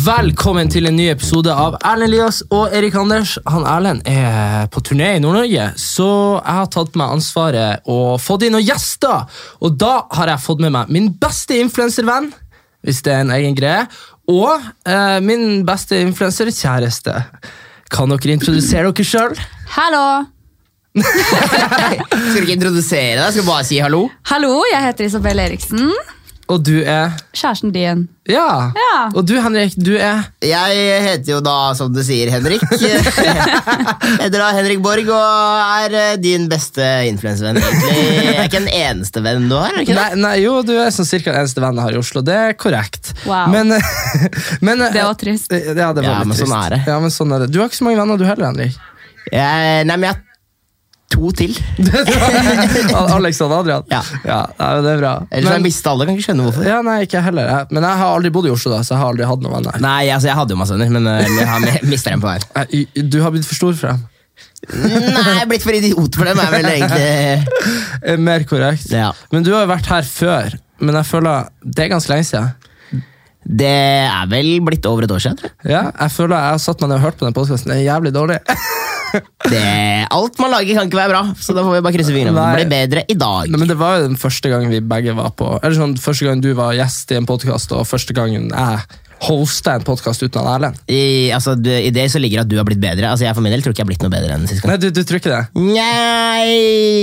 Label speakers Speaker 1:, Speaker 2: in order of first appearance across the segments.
Speaker 1: Velkommen til en ny episode av Erlend Elias og Erik Anders. Han Erlend er på turné i Nord-Norge, så jeg har tatt meg ansvaret og fått inn noen gjester. Og da har jeg fått med meg min beste influenservenn, hvis det er en egen greie, og eh, min beste influenserkjæreste. Kan dere introdusere dere sjøl?
Speaker 2: Hallo!
Speaker 3: Skal du ikke introdusere deg? Skal du bare si hallo?
Speaker 2: Hallo, jeg heter Isabel Eriksen.
Speaker 1: Og du er
Speaker 2: Kjæresten din.
Speaker 1: ja.
Speaker 2: Ja.
Speaker 1: Og du, Henrik, du er
Speaker 3: Jeg heter jo da, som du sier, Henrik. Jeg heter da Henrik Borg og er eh, din beste influensevenn, egentlig. Jeg er ikke den eneste vennen du har? er det ikke det?
Speaker 1: Nei, nei, jo, du er sånn cirka den eneste vennen jeg har i Oslo. Det er korrekt.
Speaker 2: Wow.
Speaker 1: Men, men
Speaker 2: Det var trist.
Speaker 1: Ja, det var
Speaker 3: Ja,
Speaker 1: litt
Speaker 3: men
Speaker 1: trist.
Speaker 3: sånn er det.
Speaker 1: Ja, men sånn er det. Du har ikke så mange venner du heller, Henrik.
Speaker 3: Jeg, nei, men jeg har to til.
Speaker 1: Alex og Adrian.
Speaker 3: Ja.
Speaker 1: nei, men det er bra.
Speaker 3: Ellers har jeg
Speaker 1: Men-
Speaker 3: mista alle. Kan ikke skjønne hvorfor.
Speaker 1: ja, nei, ikke jeg heller. Jeg- Men jeg har aldri bodd i Oslo, da, så jeg har aldri hatt noen venner.
Speaker 3: Nei, altså, jeg hadde jo masse venner, men eh, jeg har mista dem på veien.
Speaker 1: Jeg- i- Du har blitt for stor for dem.
Speaker 3: Nei, jeg er blitt for idiot for dem, er vel egentlig
Speaker 1: Eh, Mer korrekt.
Speaker 3: Ja.
Speaker 1: Men du har jo vært her før, men jeg føler det er ganske lenge siden.
Speaker 3: Det er vel blitt over et år siden. tror jeg.
Speaker 1: Ja, jeg føler jeg har satt meg ned og hørt på den podkasten. Det er jævlig dårlig.
Speaker 3: Det, alt man lager, kan ikke være bra, så da får vi bare krysse fingrene. for Det
Speaker 1: Nei.
Speaker 3: blir bedre i dag.
Speaker 1: Nei, men Det var jo den første gangen vi begge var på Eller sånn, første gang du var gjest i en podkast, og første gangen jeg hosta en podkast uten han Erlend.
Speaker 3: I, altså, du, I det så ligger at du har blitt bedre. Altså, Jeg for min del tror ikke jeg har blitt noe bedre enn sist gang.
Speaker 1: Nei, du, du tror ikke det?
Speaker 3: Nei,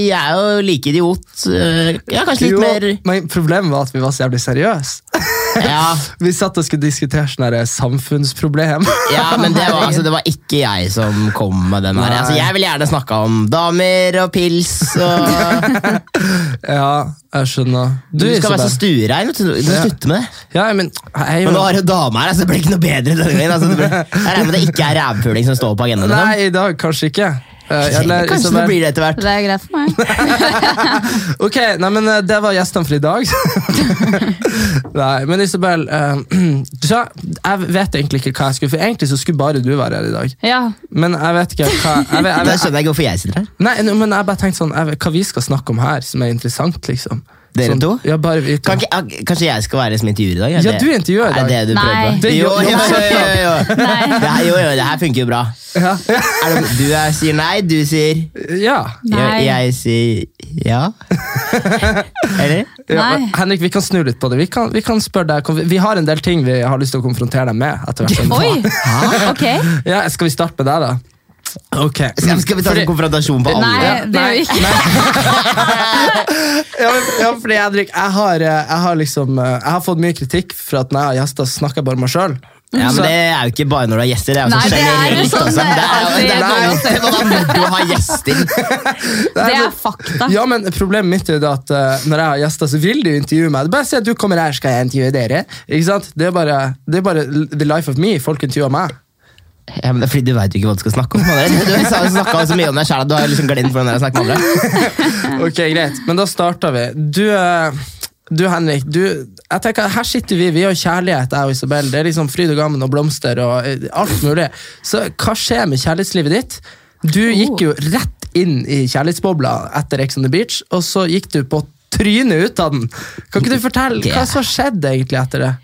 Speaker 3: jeg er jo like idiot. Øh, Ja, kanskje litt
Speaker 1: Jo,
Speaker 3: mer
Speaker 1: men Problemet var at vi var så jævlig seriøse.
Speaker 3: ja,
Speaker 1: Vi satt og skulle diskutere sånne her samfunnsproblem.
Speaker 3: ja, men det var, altså, det var ikke jeg som kom med den her.
Speaker 1: Nei.
Speaker 3: Altså, jeg ville gjerne snakka om damer og pils og
Speaker 1: Ja, jeg skjønner.
Speaker 3: Du skal
Speaker 1: Isabel.
Speaker 3: være så stuerein. vet Du Du må
Speaker 1: Ja.
Speaker 3: slutte med det.
Speaker 1: Ja, men jeg er
Speaker 3: Men
Speaker 1: jo
Speaker 3: nå har du dame her, altså, det blir ikke noe bedre denne gangen. Altså, det blir, jeg regner med det ikke er rævpuling som står på agendaen. liksom.
Speaker 1: Nei, i dag kanskje ikke. Eh, eller
Speaker 3: Kanskje det
Speaker 1: Isabel.
Speaker 3: blir det etter hvert.
Speaker 2: Det er greit for meg.
Speaker 1: Ok, nei, men eh, det var gjestene for i dag. nei, men Isabel, eh, du sa, jeg vet egentlig ikke hva jeg skulle For egentlig så skulle bare du være her i dag.
Speaker 2: Ja,
Speaker 1: Men jeg vet ikke hva jeg vet, jeg
Speaker 3: Da
Speaker 1: vet,
Speaker 3: skjønner jeg ikke hvorfor jeg sitter her.
Speaker 1: Nei, nå, men jeg bare tenkte sånn jeg vet, Hva vi skal snakke om her som er interessant, liksom.
Speaker 3: Dere
Speaker 1: sånn,
Speaker 3: to?
Speaker 1: Ja, bare vi to.
Speaker 3: Kan ikke, ak- kanskje jeg skal være som intervjuer i dag? er
Speaker 1: Ja,
Speaker 3: det-
Speaker 1: du er intervjuer i dag.
Speaker 3: Er det du
Speaker 2: Nei.
Speaker 3: prøver på?
Speaker 1: Det
Speaker 3: jo,
Speaker 1: gjør-
Speaker 3: jo, jo,
Speaker 1: jo,
Speaker 3: jo, jo.
Speaker 2: Nei.
Speaker 3: Det her, jo, jo, det her funker jo bra.
Speaker 1: Ja.
Speaker 3: Er det, du er, sier nei, du sier
Speaker 1: ja.
Speaker 2: Nei.
Speaker 3: Jeg, jeg sier ja. Eller?
Speaker 1: ja
Speaker 2: Nei.
Speaker 1: men Henrik, vi kan snu litt på det. Vi kan, vi kan spørre deg, kom- Vi har en del ting vi har lyst til å konfrontere deg med. etter hvert. sånn.
Speaker 2: Oi! Ok.
Speaker 1: Ja, skal vi starte med deg, da? Ok.
Speaker 3: Skal, skal vi ta en konfrontasjon på
Speaker 2: Nei,
Speaker 3: alle?
Speaker 2: det gjør vi ikke.
Speaker 1: Ja, men, ja, fordi Henrik, jeg har, eh, jeg har liksom eh, Jeg har fått mye kritikk for at når jeg har gjester, så snakker jeg bare meg sjøl.
Speaker 3: Ja, men Det er jo ikke bare når du har gjester. Det er jo
Speaker 2: Nei,
Speaker 3: sånn
Speaker 2: det er jo
Speaker 3: generelt
Speaker 2: sånn
Speaker 3: også.
Speaker 2: det er
Speaker 3: Det er jo- det er noe-
Speaker 2: alltid.
Speaker 3: det er noe når du har gjester.
Speaker 2: Det er fakta.
Speaker 1: sånn- Ja, men Problemet mitt er jo det at eh, når jeg har gjester, så vil de jo intervjue meg. Det er bare å si at du kommer her, skal jeg intervjue dere. Ikke sant? Det er bare, det er bare the life of me. Folk intervjuer meg.
Speaker 3: Ja, men det er fordi du veit jo ikke hva du skal snakke om. allerede. Du har snakka så mye om deg sjæl at du har liksom glemt hvordan det er å snakke med andre.
Speaker 1: Ok, Greit, men da starter vi. Du, eh, du Henrik, du, jeg tenker, her sitter vi. Vi har kjærlighet, jeg og Isabel. Det er liksom fryd og gammen og blomster og eh, alt mulig. Så hva skjer med kjærlighetslivet ditt? Du
Speaker 3: Oh.
Speaker 1: gikk jo rett inn i kjærlighetsbobla etter Ex on the Beach, og så gikk du på trynet ut av den. Kan ikke du fortelle hva som har skjedd egentlig etter det?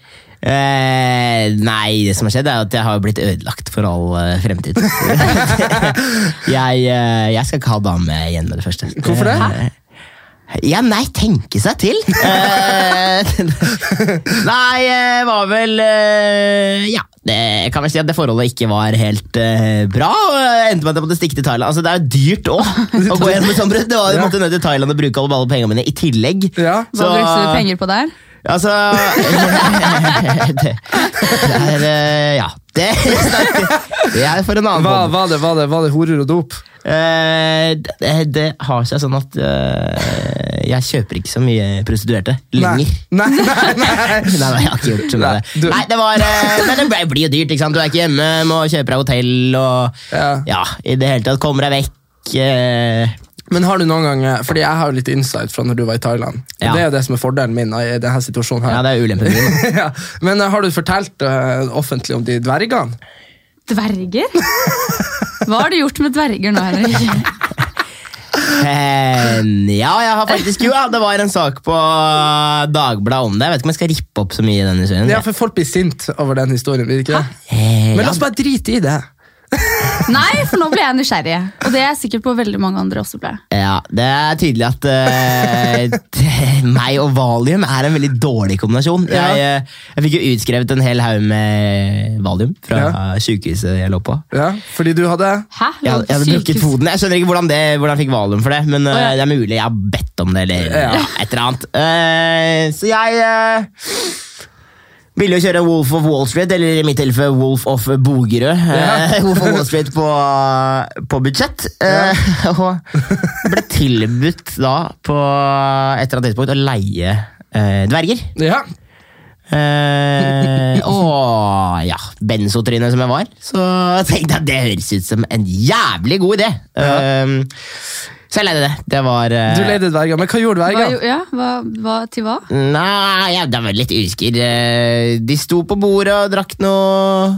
Speaker 3: Eh, nei, det som har skjedd er jo at jeg har blitt ødelagt for all eh, fremtid. jeg, eh, jeg skal ikke ha dame igjen med det første.
Speaker 1: Hvorfor det?
Speaker 3: Eh, Ja, nei, tenke seg til. Eh, nei, eh, var vel eh, Ja, det jeg kan vel si at det forholdet ikke var helt eh, bra. og jeg Endte med at jeg måtte stikke til Thailand. Altså, Det er jo dyrt òg å gå gjennom et sånt brudd. Det var, jeg måtte ned til Thailand og bruke alle, alle pengene mine i tillegg.
Speaker 1: Ja.
Speaker 2: Hva brukte du penger på der?
Speaker 3: Altså det, det er eh, Ja. Det, det er for en annen
Speaker 1: Hva
Speaker 3: måte.
Speaker 1: var det, var det, var det horer og dop?
Speaker 3: Eh, det, det har seg sånn at eh, jeg kjøper ikke så mye prostituerte lenger.
Speaker 1: Nei, nei, nei,
Speaker 3: Nei, nei, jeg har ikke gjort så mye av
Speaker 1: Nei,
Speaker 3: det.
Speaker 1: du-
Speaker 3: Nei, det var, eh, men det ble- blir jo dyrt. ikke sant? Du er ikke hjemme, må kjøpe deg hotell og
Speaker 1: Ja.
Speaker 3: ja, i det hele tatt kommer deg vekk. eh,
Speaker 1: Men har du noen gang eh, Fordi jeg har jo litt insight fra når du var i Thailand. Og
Speaker 3: Ja.
Speaker 1: Det er jo det som er fordelen min i denne situasjonen
Speaker 3: Ja,
Speaker 1: her.
Speaker 3: det er ulempen min. da.
Speaker 1: ja. Men eh, har du fortalt eh, offentlig om de dvergene?
Speaker 2: Dverger? Hva har du gjort med dverger nå, Henrik?
Speaker 3: Eh, ja, jeg har faktisk jo, ja, det var en sak på Dagbladet om det. Jeg vet ikke om jeg skal rippe opp så mye i den historien.
Speaker 1: Ja, for folk blir sint over den historien. vil de ikke det?
Speaker 3: Eh,
Speaker 1: Men
Speaker 3: ja,
Speaker 1: la oss bare drite i det.
Speaker 2: Nei, for nå ble jeg nysgjerrig. Og det er jeg sikkert på veldig mange andre også ble.
Speaker 3: Ja, det er tydelig at eh, det- meg og valium er en veldig dårlig kombinasjon. Jeg,
Speaker 1: Ja.
Speaker 3: eh, jeg fikk jo utskrevet en hel haug med valium fra
Speaker 1: Ja.
Speaker 3: sykehuset jeg lå på.
Speaker 1: Ja, fordi du hadde
Speaker 2: Hæ?
Speaker 3: Jeg, hadde- jeg hadde brukket foten. Jeg skjønner ikke hvordan, det, hvordan jeg fikk valium for det, men eh,
Speaker 2: ja.
Speaker 3: det er mulig jeg har bedt om det, eller
Speaker 1: Ja.
Speaker 3: ja, et eller annet. Eh, så jeg eh, ville jo kjøre Wolf of Wall Street, eller i mitt tilfelle Wolf of Bogerød. eh, Wolf of Wall Street på, på budsjett. eh, og ble tilbudt da, på et eller annet tidspunkt, å leie eh, dverger.
Speaker 1: Ja.
Speaker 3: Eh, og ja, benzotryne som jeg var, så tenkte jeg at det høres ut som en jævlig god idé. Eh, så jeg leide det. Det var eh,
Speaker 1: Du leide dverger, men hva gjorde
Speaker 2: Hva,
Speaker 1: dvergene?
Speaker 2: jo- ja, hva, hva, til hva?
Speaker 3: Nei, jeg var litt usikker. Eh, De sto på bordet og drakk noe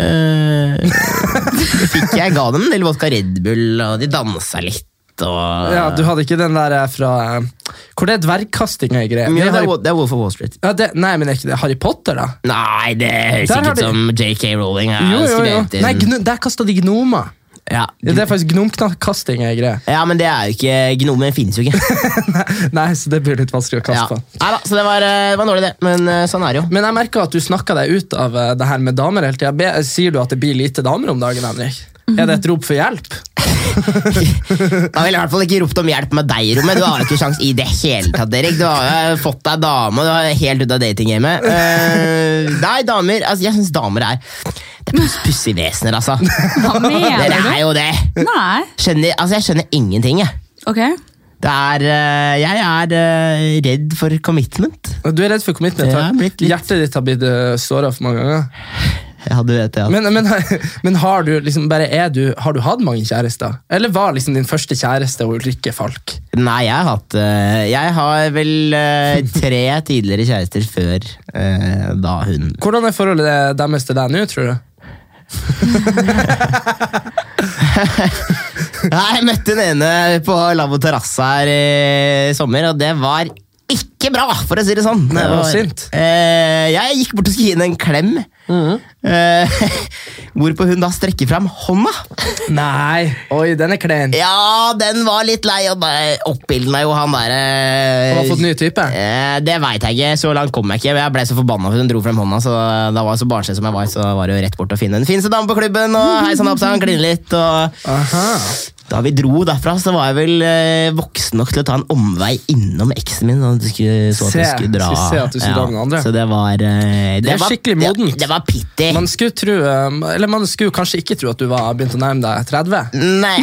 Speaker 3: eh, Fikk jeg ga dem en del vodka Red Bull, og de dansa litt. Og,
Speaker 1: Ja, du hadde ikke den der eh, fra eh, Hvor det er dvergkastinga i greia?
Speaker 3: Men
Speaker 1: Vi
Speaker 3: det, er,
Speaker 1: har-
Speaker 3: Wo- det er Wolf of Wall Street.
Speaker 1: Ja, det, nei, men er ikke det Harry Potter, da?
Speaker 3: Nei, det høres
Speaker 1: Der har
Speaker 3: ikke ut
Speaker 1: de-
Speaker 3: som JK Rowling. er studenter.
Speaker 1: Nei, gnu, der kasta de gnomer.
Speaker 3: ja.
Speaker 1: Ja, det er faktisk gnomkasting er greie.
Speaker 3: ja, men det er jo ikke Gnomen finnes jo ikke.
Speaker 1: Nei, så det blir litt vanskelig å
Speaker 3: Ja.
Speaker 1: kaste på.
Speaker 3: Neida, så det var, eh, det var en dårlig idé, men eh, sånn er det jo.
Speaker 1: Men jeg merker at du snakka deg ut av eh, det her med damer hele tida. Be- Sier du at det blir lite damer om dagen, Henrik?
Speaker 3: Mhm.
Speaker 1: Er det et rop for hjelp?
Speaker 3: Da ville jeg i hvert fall ikke ropt om hjelp med deg i rommet. Du har jo ikke sjans i det hele tatt, Erik. Du har jo eh, fått deg dame, og du er helt ute av datinggamet. Eh, nei, damer altså, Jeg syns damer er Det er pus- pussige vesener, altså.
Speaker 2: Hva
Speaker 3: Dere
Speaker 2: mener du?
Speaker 3: er jo det.
Speaker 2: Nei.
Speaker 3: Skjønner, altså, jeg skjønner ingenting, jeg.
Speaker 2: Ok.
Speaker 3: Det er, eh, jeg er eh, redd for commitment.
Speaker 1: Du er redd for commitment.
Speaker 3: Det
Speaker 1: har-
Speaker 3: er blitt litt-
Speaker 1: Hjertet ditt har blitt eh, såret for mange ganger.
Speaker 3: Ja, du vet det. Altså.
Speaker 1: Men, men, men har du liksom bare er du, har du hatt mange kjærester? Eller var liksom din første kjæreste Ulrikke Falk?
Speaker 3: Nei, jeg har hatt eh, Jeg har vel eh, tre tidligere kjærester før eh, da hun
Speaker 1: Hvordan er forholdet eh, deres til deg nå, tror du?
Speaker 3: Nei, jeg møtte den ene på Lavvo Terrasse her i sommer, og det var ikke bra, for å si det sånn. Det
Speaker 1: var sint.
Speaker 3: Eh, jeg gikk bort og skulle gi henne en klem,
Speaker 1: Mm.
Speaker 3: eh, hvorpå hun da strekker fram hånda.
Speaker 1: Nei, oi, den er klein.
Speaker 3: Ja, den var litt lei, og bare oppbilden av jo han der eh,
Speaker 1: Han har fått ny type.
Speaker 3: Eh, det veit jeg ikke. Så langt kom jeg ikke. Men jeg ble så forbanna for hun dro frem hånda. Så da var jeg så barnslig som jeg var, så var det jo rett bort å finne en fineste dame på klubben. Og hei sann, hopp sann, kline litt. Og
Speaker 1: Aha.
Speaker 3: da vi dro derfra, så var jeg vel eh, voksen nok til å ta en omvei innom eksen min. Og du skulle, så at
Speaker 1: Se,
Speaker 3: du skulle dra.
Speaker 1: skulle se at du skulle dra med den andre.
Speaker 3: Så det var eh,
Speaker 1: Det er
Speaker 3: var,
Speaker 1: skikkelig modent.
Speaker 3: Det, det var pittig.
Speaker 1: Man skulle, tro, um, eller man skulle kanskje ikke tro at du var begynt å nærme deg 30.
Speaker 3: Nei,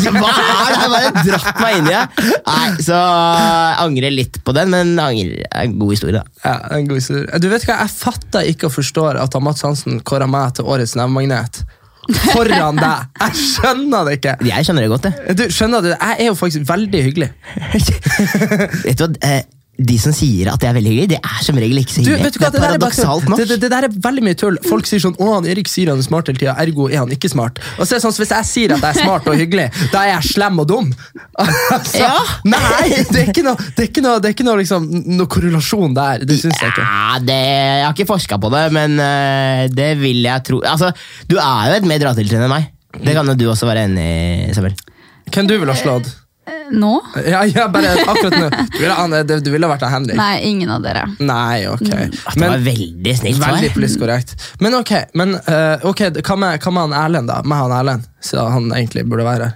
Speaker 3: hva er det? Jeg bare dratt meg inn i det. Nei, Så jeg angrer litt på den, men angrer, det er en god historie, da.
Speaker 1: Ja, en god historie. Du vet hva, Jeg fatter ikke og forstår at han Mats Hansen kåra meg til årets nevemagnet. Foran deg! Jeg skjønner det ikke!
Speaker 3: Jeg skjønner det godt, jeg.
Speaker 1: Du, skjønner du, Jeg er jo faktisk veldig hyggelig.
Speaker 3: Vet du hva, eh, De som sier at det er veldig hyggelig, det er som regel ikke så
Speaker 1: Du,
Speaker 3: hyggelig.
Speaker 1: vet du hva,
Speaker 3: er
Speaker 1: det, der er bare
Speaker 3: paradoksalt
Speaker 1: tull.
Speaker 3: nok.
Speaker 1: Det, det, det der er veldig mye tull. Folk sier sånn 'Å, han Erik sier han er smart hele tida, ergo er han ikke smart'. Og så er det sånn, så Hvis jeg sier at jeg er smart og hyggelig, da er jeg slem og dum. Altså,
Speaker 3: Ja.
Speaker 1: Nei, det er ikke noe, det er ikke noe, det er ikke noe, liksom, noe korrelasjon der. Det syns jeg ikke.
Speaker 3: Ja, det, jeg har ikke forska på det, men eh, det vil jeg tro Altså, Du er jo et mer dratiltrinn enn meg. Det kan jo du også være enig i, Isabel.
Speaker 1: Hvem du ville ha slått?
Speaker 2: Eh, Nå?
Speaker 1: Ja, ja, bare akkurat nå. Du ville, Anne, det- du ville vært av Henrik.
Speaker 2: Nei, Mm. ingen av dere.
Speaker 1: Nei, ok.
Speaker 3: Det var veldig snilt svar.
Speaker 1: veldig politisk korrekt. Men ok, men, eh, ok, hva, med, hva med han Erlend, da? Med han Erlend, siden han egentlig burde være her.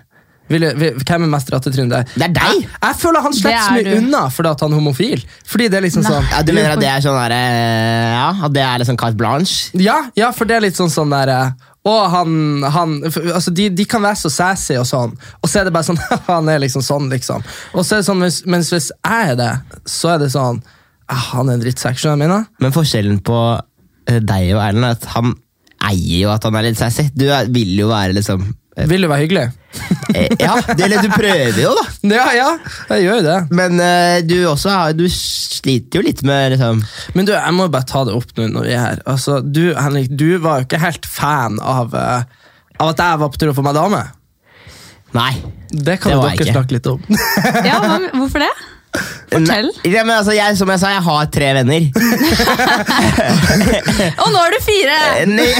Speaker 1: Ville- vi- hvem er mest rattetrynet der?
Speaker 3: Det er deg!
Speaker 1: Jeg føler han slipper så
Speaker 2: Det er
Speaker 1: mye
Speaker 2: du.
Speaker 1: unna fordi at han er homofil. Fordi det er liksom sånn
Speaker 3: Ja, du mener at det er sånn der, eh, ja, at det er liksom carte blanche?
Speaker 1: Ja, ja, for det er litt sånn sånn der eh, Å, han, han for, altså de, de kan være så sassy og sånn, og så er det bare sånn Han er liksom sånn, liksom. Og så er det sånn, mens, mens hvis jeg er det, så er det sånn ah, Han er en drittsekk, skjønner du hva jeg mener?
Speaker 3: Men forskjellen på eh, deg og Erlend er at han eier jo at han er litt sassy. Du er- vil jo være liksom eh,
Speaker 1: Vil jo være hyggelig.
Speaker 3: eh, Ja, det, eller du prøver jo, da.
Speaker 1: Ja, ja, jeg gjør jo det.
Speaker 3: Men eh, du også har, du sliter jo litt med liksom
Speaker 1: Men du, jeg må bare ta det opp nå når vi er her. Altså, du, Henrik, du var jo ikke helt fan av, eh, av at jeg var på tur å få meg dame.
Speaker 3: Nei.
Speaker 1: Det kan
Speaker 3: Det
Speaker 1: jo
Speaker 3: var
Speaker 1: dere
Speaker 3: jeg ikke.
Speaker 1: snakke litt om.
Speaker 2: Ja, hva, hvorfor det? Fortell.
Speaker 3: Nei, ja, men altså, jeg, som jeg sa, jeg har tre venner.
Speaker 2: Og nå er du fire!
Speaker 3: Nei.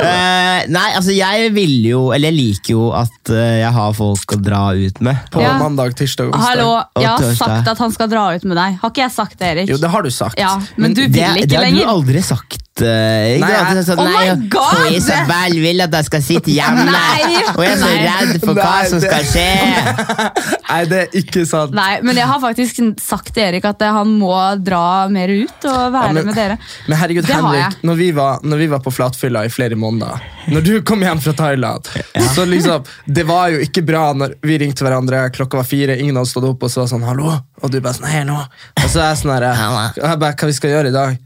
Speaker 3: Eh, nei, altså jeg vil jo, eller jeg liker jo at eh, jeg har folk å dra ut med.
Speaker 1: På
Speaker 2: Ja.
Speaker 1: mandag, tirsdag og onsdag.
Speaker 2: Hallo,
Speaker 3: Og
Speaker 2: jeg har
Speaker 3: torsdag.
Speaker 2: sagt at han skal dra ut med deg. Har ikke jeg sagt det, Erik?
Speaker 1: Jo, det har du sagt.
Speaker 2: Ja, men du
Speaker 3: Det,
Speaker 2: vil
Speaker 3: det
Speaker 2: ikke
Speaker 3: har du
Speaker 2: lenger.
Speaker 3: aldri sagt. eh, ikke?
Speaker 1: Nei,
Speaker 3: Du har alltid sagt sånn,
Speaker 2: jeg- Oh
Speaker 3: nei,
Speaker 2: my God!»
Speaker 3: og Isabel vil at jeg skal sitte hjemme,
Speaker 2: Nei!
Speaker 3: og jeg er så
Speaker 2: Nei.
Speaker 3: redd for hva
Speaker 1: Nei,
Speaker 3: som
Speaker 1: det-
Speaker 3: skal skje.
Speaker 1: Nei, det er ikke sant.
Speaker 2: Nei, men jeg har faktisk sagt til Erik at eh, han må dra mer ut og være
Speaker 1: Ja,
Speaker 2: med dere.
Speaker 1: men herregud,
Speaker 2: Det har
Speaker 1: Henrik, når vi, var, når vi var på flatfylla i flere måneder Når du kom hjem fra Thailand Så liksom, Det var jo ikke bra når vi ringte hverandre, klokka var fire, ingen hadde stått opp, og så var det sånn 'hallo', og du bare sånn 'hei, nå'. Og så er jeg sånn her,
Speaker 3: Hallo.
Speaker 1: og jeg bare, 'hva vi skal gjøre i dag'?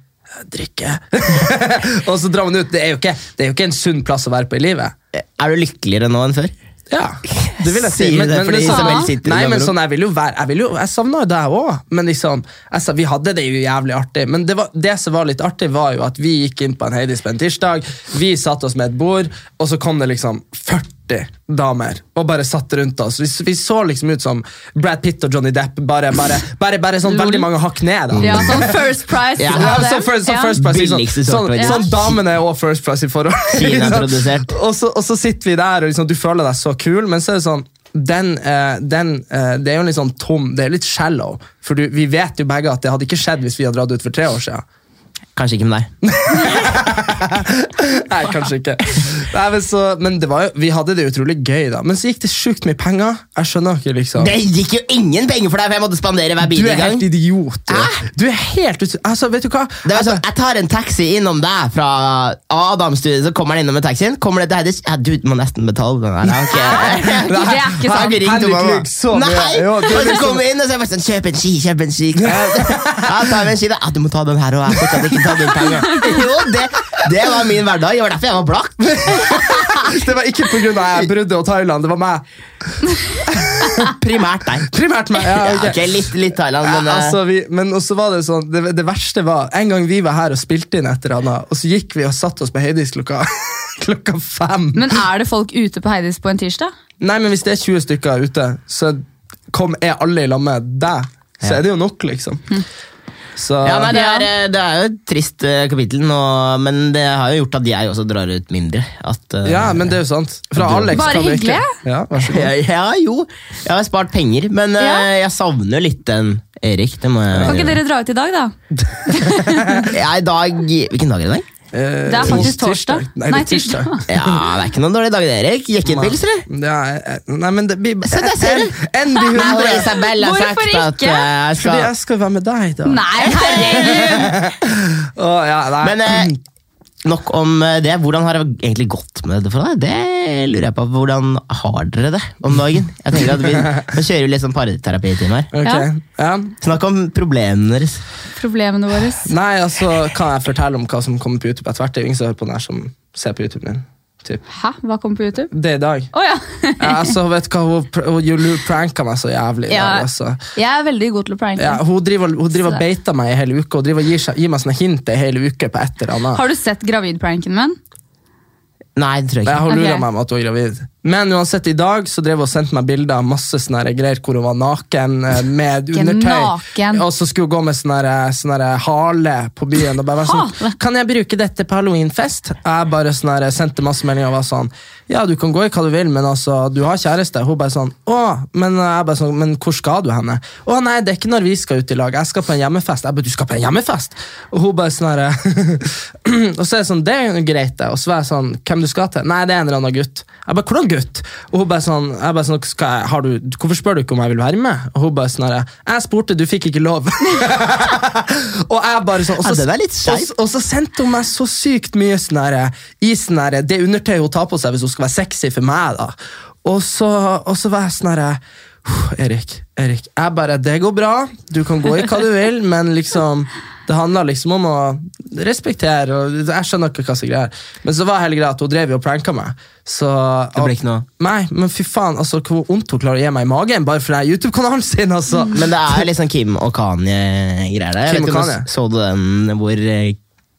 Speaker 1: Drikke. og så drar man ut. Det er, jo ikke, det er jo ikke en sunn plass å være på i livet.
Speaker 3: Er du lykkeligere nå enn før?
Speaker 1: Ja, det vil jeg si.
Speaker 3: Sier du det fordi
Speaker 1: sånn-
Speaker 2: Isabel
Speaker 3: sitter i
Speaker 1: Nei, men
Speaker 3: samme rom?
Speaker 1: sånn, jeg vil jo være Jeg, vil jo, jeg savna jo deg òg, men liksom jeg sa, Vi hadde det jo jævlig artig, men det, var, det som var litt artig, var jo at vi gikk inn på en Heidis på en tirsdag, vi satte oss med et bord, og så kom det liksom 40 damer og bare satt rundt oss. Vi, vi så liksom ut som Brad Pitt og Johnny Depp, bare, bare, bare, bare sånn veldig mange hakk ned. Da.
Speaker 2: Ja, sånn First Price.
Speaker 3: Ja,
Speaker 1: Ja,
Speaker 2: av det.
Speaker 1: så first, så
Speaker 2: Ja.
Speaker 1: first price, liksom.
Speaker 3: Billigste
Speaker 1: sånn,
Speaker 3: sortiment.
Speaker 1: sånn
Speaker 3: Ja.
Speaker 1: damene er også first price i forhold.
Speaker 3: Kinaprodusert.
Speaker 1: og, så, og så sitter vi der, og liksom, du føler deg så kul, men så er det sånn den, eh, den, eh, det er jo litt sånn tom, det er litt shallow. For du, vi vet jo begge at det hadde ikke skjedd hvis vi hadde dratt ut for tre år siden.
Speaker 3: Kanskje ikke med deg.
Speaker 1: Nei, kanskje ikke. Nei, men så, men det var jo, vi hadde det utrolig gøy, da. Men så gikk det sjukt mye penger. Jeg skjønner ikke, liksom.
Speaker 3: Det gikk jo ingen penger for deg, for jeg måtte spandere hver
Speaker 1: Du er
Speaker 3: bilgang.
Speaker 1: helt idiot. Du, du er helt ut... Altså, vet du hva?
Speaker 3: Det var sånn, Jeg tar en taxi innom deg fra Adam-studiet, så kommer han innom med taxien. Kommer det til Heidis ja, Du må nesten betale den her. ja, ok.
Speaker 2: Det er ikke
Speaker 3: Jeg har
Speaker 2: sant.
Speaker 3: ikke ringt om
Speaker 1: Henrik
Speaker 3: mamma.
Speaker 1: lyver så mye.
Speaker 3: Nei!
Speaker 1: Jo,
Speaker 3: Og
Speaker 1: det er
Speaker 3: så
Speaker 1: liksom-
Speaker 3: kommer jeg inn og så er jeg bare sånn Kjøp en ski, kjøp en ski. Ja, ta med en ski da. Ja, du må ta den her òg. Jeg fortsatt ikke ta den penger. Jo, det, det var min hverdag. Det var derfor jeg var blakk.
Speaker 1: Det var ikke pga. bruddet og Thailand, det var meg.
Speaker 3: Primært deg.
Speaker 1: Primært meg. Ja,
Speaker 3: Ja,
Speaker 1: ok.
Speaker 3: ok, litt, litt Thailand, men
Speaker 1: Ja,
Speaker 3: eh,
Speaker 1: altså, vi, men også var det sånn det, det verste var En gang vi var her og spilte inn et eller annet, og så gikk vi og satte oss på Heidis klokka, klokka fem.
Speaker 2: Men er det folk ute på Heidis på en tirsdag?
Speaker 1: Nei, men hvis det er 20 stykker ute, så kom, er alle i lag med deg.
Speaker 3: Ja.
Speaker 1: Så
Speaker 3: Hm.
Speaker 1: er det jo nok, liksom. Så
Speaker 3: ja, nei, det, er, eh, det er jo et trist eh, kapittel, nå, men det har jo gjort at jeg også drar ut mindre. At, eh,
Speaker 1: ja, men det er jo sant. Fra Alex
Speaker 2: Bare
Speaker 1: kan vi ikke
Speaker 2: hyggelig.
Speaker 1: Ja, vær så god.
Speaker 3: Ja, ja, jo. Jeg har spart penger, men
Speaker 2: Ja.
Speaker 3: eh, jeg savner litt den Erik. Det må jeg
Speaker 2: Kan ikke dere dra ut i dag, da?
Speaker 3: Ja, i dag Hvilken dag er det i dag?
Speaker 2: Det er faktisk torsdag.
Speaker 1: Nei, det er Eh, tirsdag.
Speaker 3: Ja, det er ikke noen dårlig dag, det, Erik. Jekkenpils, eller?
Speaker 1: Ja, eh, nei, men det blir
Speaker 3: Se, der ser du. Jeg og
Speaker 1: NB100.
Speaker 3: Isabel har
Speaker 2: Hvorfor
Speaker 3: sagt at eh,
Speaker 2: ikke?
Speaker 3: jeg
Speaker 1: Fordi
Speaker 3: skal
Speaker 1: jeg skal være med deg, da.
Speaker 2: Nei, herregud!
Speaker 1: Å, ja, nei.
Speaker 3: Men eh, nok om eh, det. Hvordan har det egentlig gått med det for deg? Det lurer jeg på. Hvordan har dere det om dagen? Jeg tenker at Vi, vi kjører jo litt sånn parterapitimer her.
Speaker 1: Ok,
Speaker 2: Ja.
Speaker 1: ja.
Speaker 3: Snakk om problemene deres.
Speaker 2: Problemene våre.
Speaker 1: Nei, altså, kan jeg fortelle om hva som kommer på YouTube etter hvert? Det er jo ingen som hører på den her som ser på YouTube din. Typ.
Speaker 2: Hæ, hva kom på YouTube?
Speaker 1: Det er i dag.
Speaker 2: Å ja.
Speaker 1: Ja, altså, vet du hva, hun, pr- hun Julu pranka meg så jævlig. i
Speaker 2: ja!
Speaker 1: dag, altså.
Speaker 2: Jeg er veldig god til å pranke.
Speaker 1: Ja, hun driver hun driver og
Speaker 2: Så-
Speaker 1: beiter meg i hele uka og driver og gir, seg- gir meg sånne hint i hele uka på et eller annet.
Speaker 2: Har du sett gravidpranken min?
Speaker 3: Nei, det tror jeg
Speaker 1: Jeg
Speaker 3: ikke.
Speaker 1: har lura
Speaker 2: Ok.
Speaker 1: meg med at hun er gravid. Men uansett, i dag så drev hun og sendte meg bilder av masse sånne her greier hvor hun var naken eh, med
Speaker 2: Ikke
Speaker 1: undertøy.
Speaker 2: naken.
Speaker 1: Og så skulle hun gå med sånn her- sånn her hale på byen og bare være sånn
Speaker 2: Hale?
Speaker 1: Kan jeg bruke dette på halloweenfest? Jeg bare sånn her, sendte masse meldinger og var sånn Ja, du kan gå i hva du vil, men altså, du har kjæreste. Hun bare sånn Å, men jeg bare sånn Men hvor skal du henne? Å nei, det er ikke når vi skal ut i lag. Jeg skal på en hjemmefest. Jeg bare Du skal på en hjemmefest? Og hun bare sånn her Og så er det sånn Det er jo greit, det. Og så var jeg sånn Hvem du skal til? Nei, det er en eller annen gutt. Jeg bare Hvordan gutt? Og hun bare sånn, jeg bare sånn skal jeg, har du, Hvorfor spør du ikke om jeg vil være med? Og hun bare sånn her Jeg spurte, du fikk ikke lov. og jeg bare sånn og
Speaker 3: Ja,
Speaker 1: så-
Speaker 3: den er litt skeiv.
Speaker 1: og så- og så sendte hun meg så sykt mye sånn her, i sånn her, det undertøyet hun tar på seg hvis hun skal være sexy for meg. da. Og så, og så var jeg sånn her «Uff, Erik, Erik, jeg bare, det går bra. Du kan gå i hva du vil, men liksom det handler liksom om å respektere. og Jeg skjønner ikke hva som er greia. Men så var hele greia at hun drev jo og pranka meg. Så,
Speaker 3: Det ble ikke noe.
Speaker 1: Nei, men fy faen, altså, hvor vondt hun klarer å gi meg i magen bare for den her YouTube-kanalen sin. altså.
Speaker 3: Men det er liksom Kim og Kanye-greier der. Jeg
Speaker 1: Kim
Speaker 3: vet
Speaker 1: og
Speaker 3: ikke om
Speaker 1: Kanye.
Speaker 3: du Så du den hvor eh,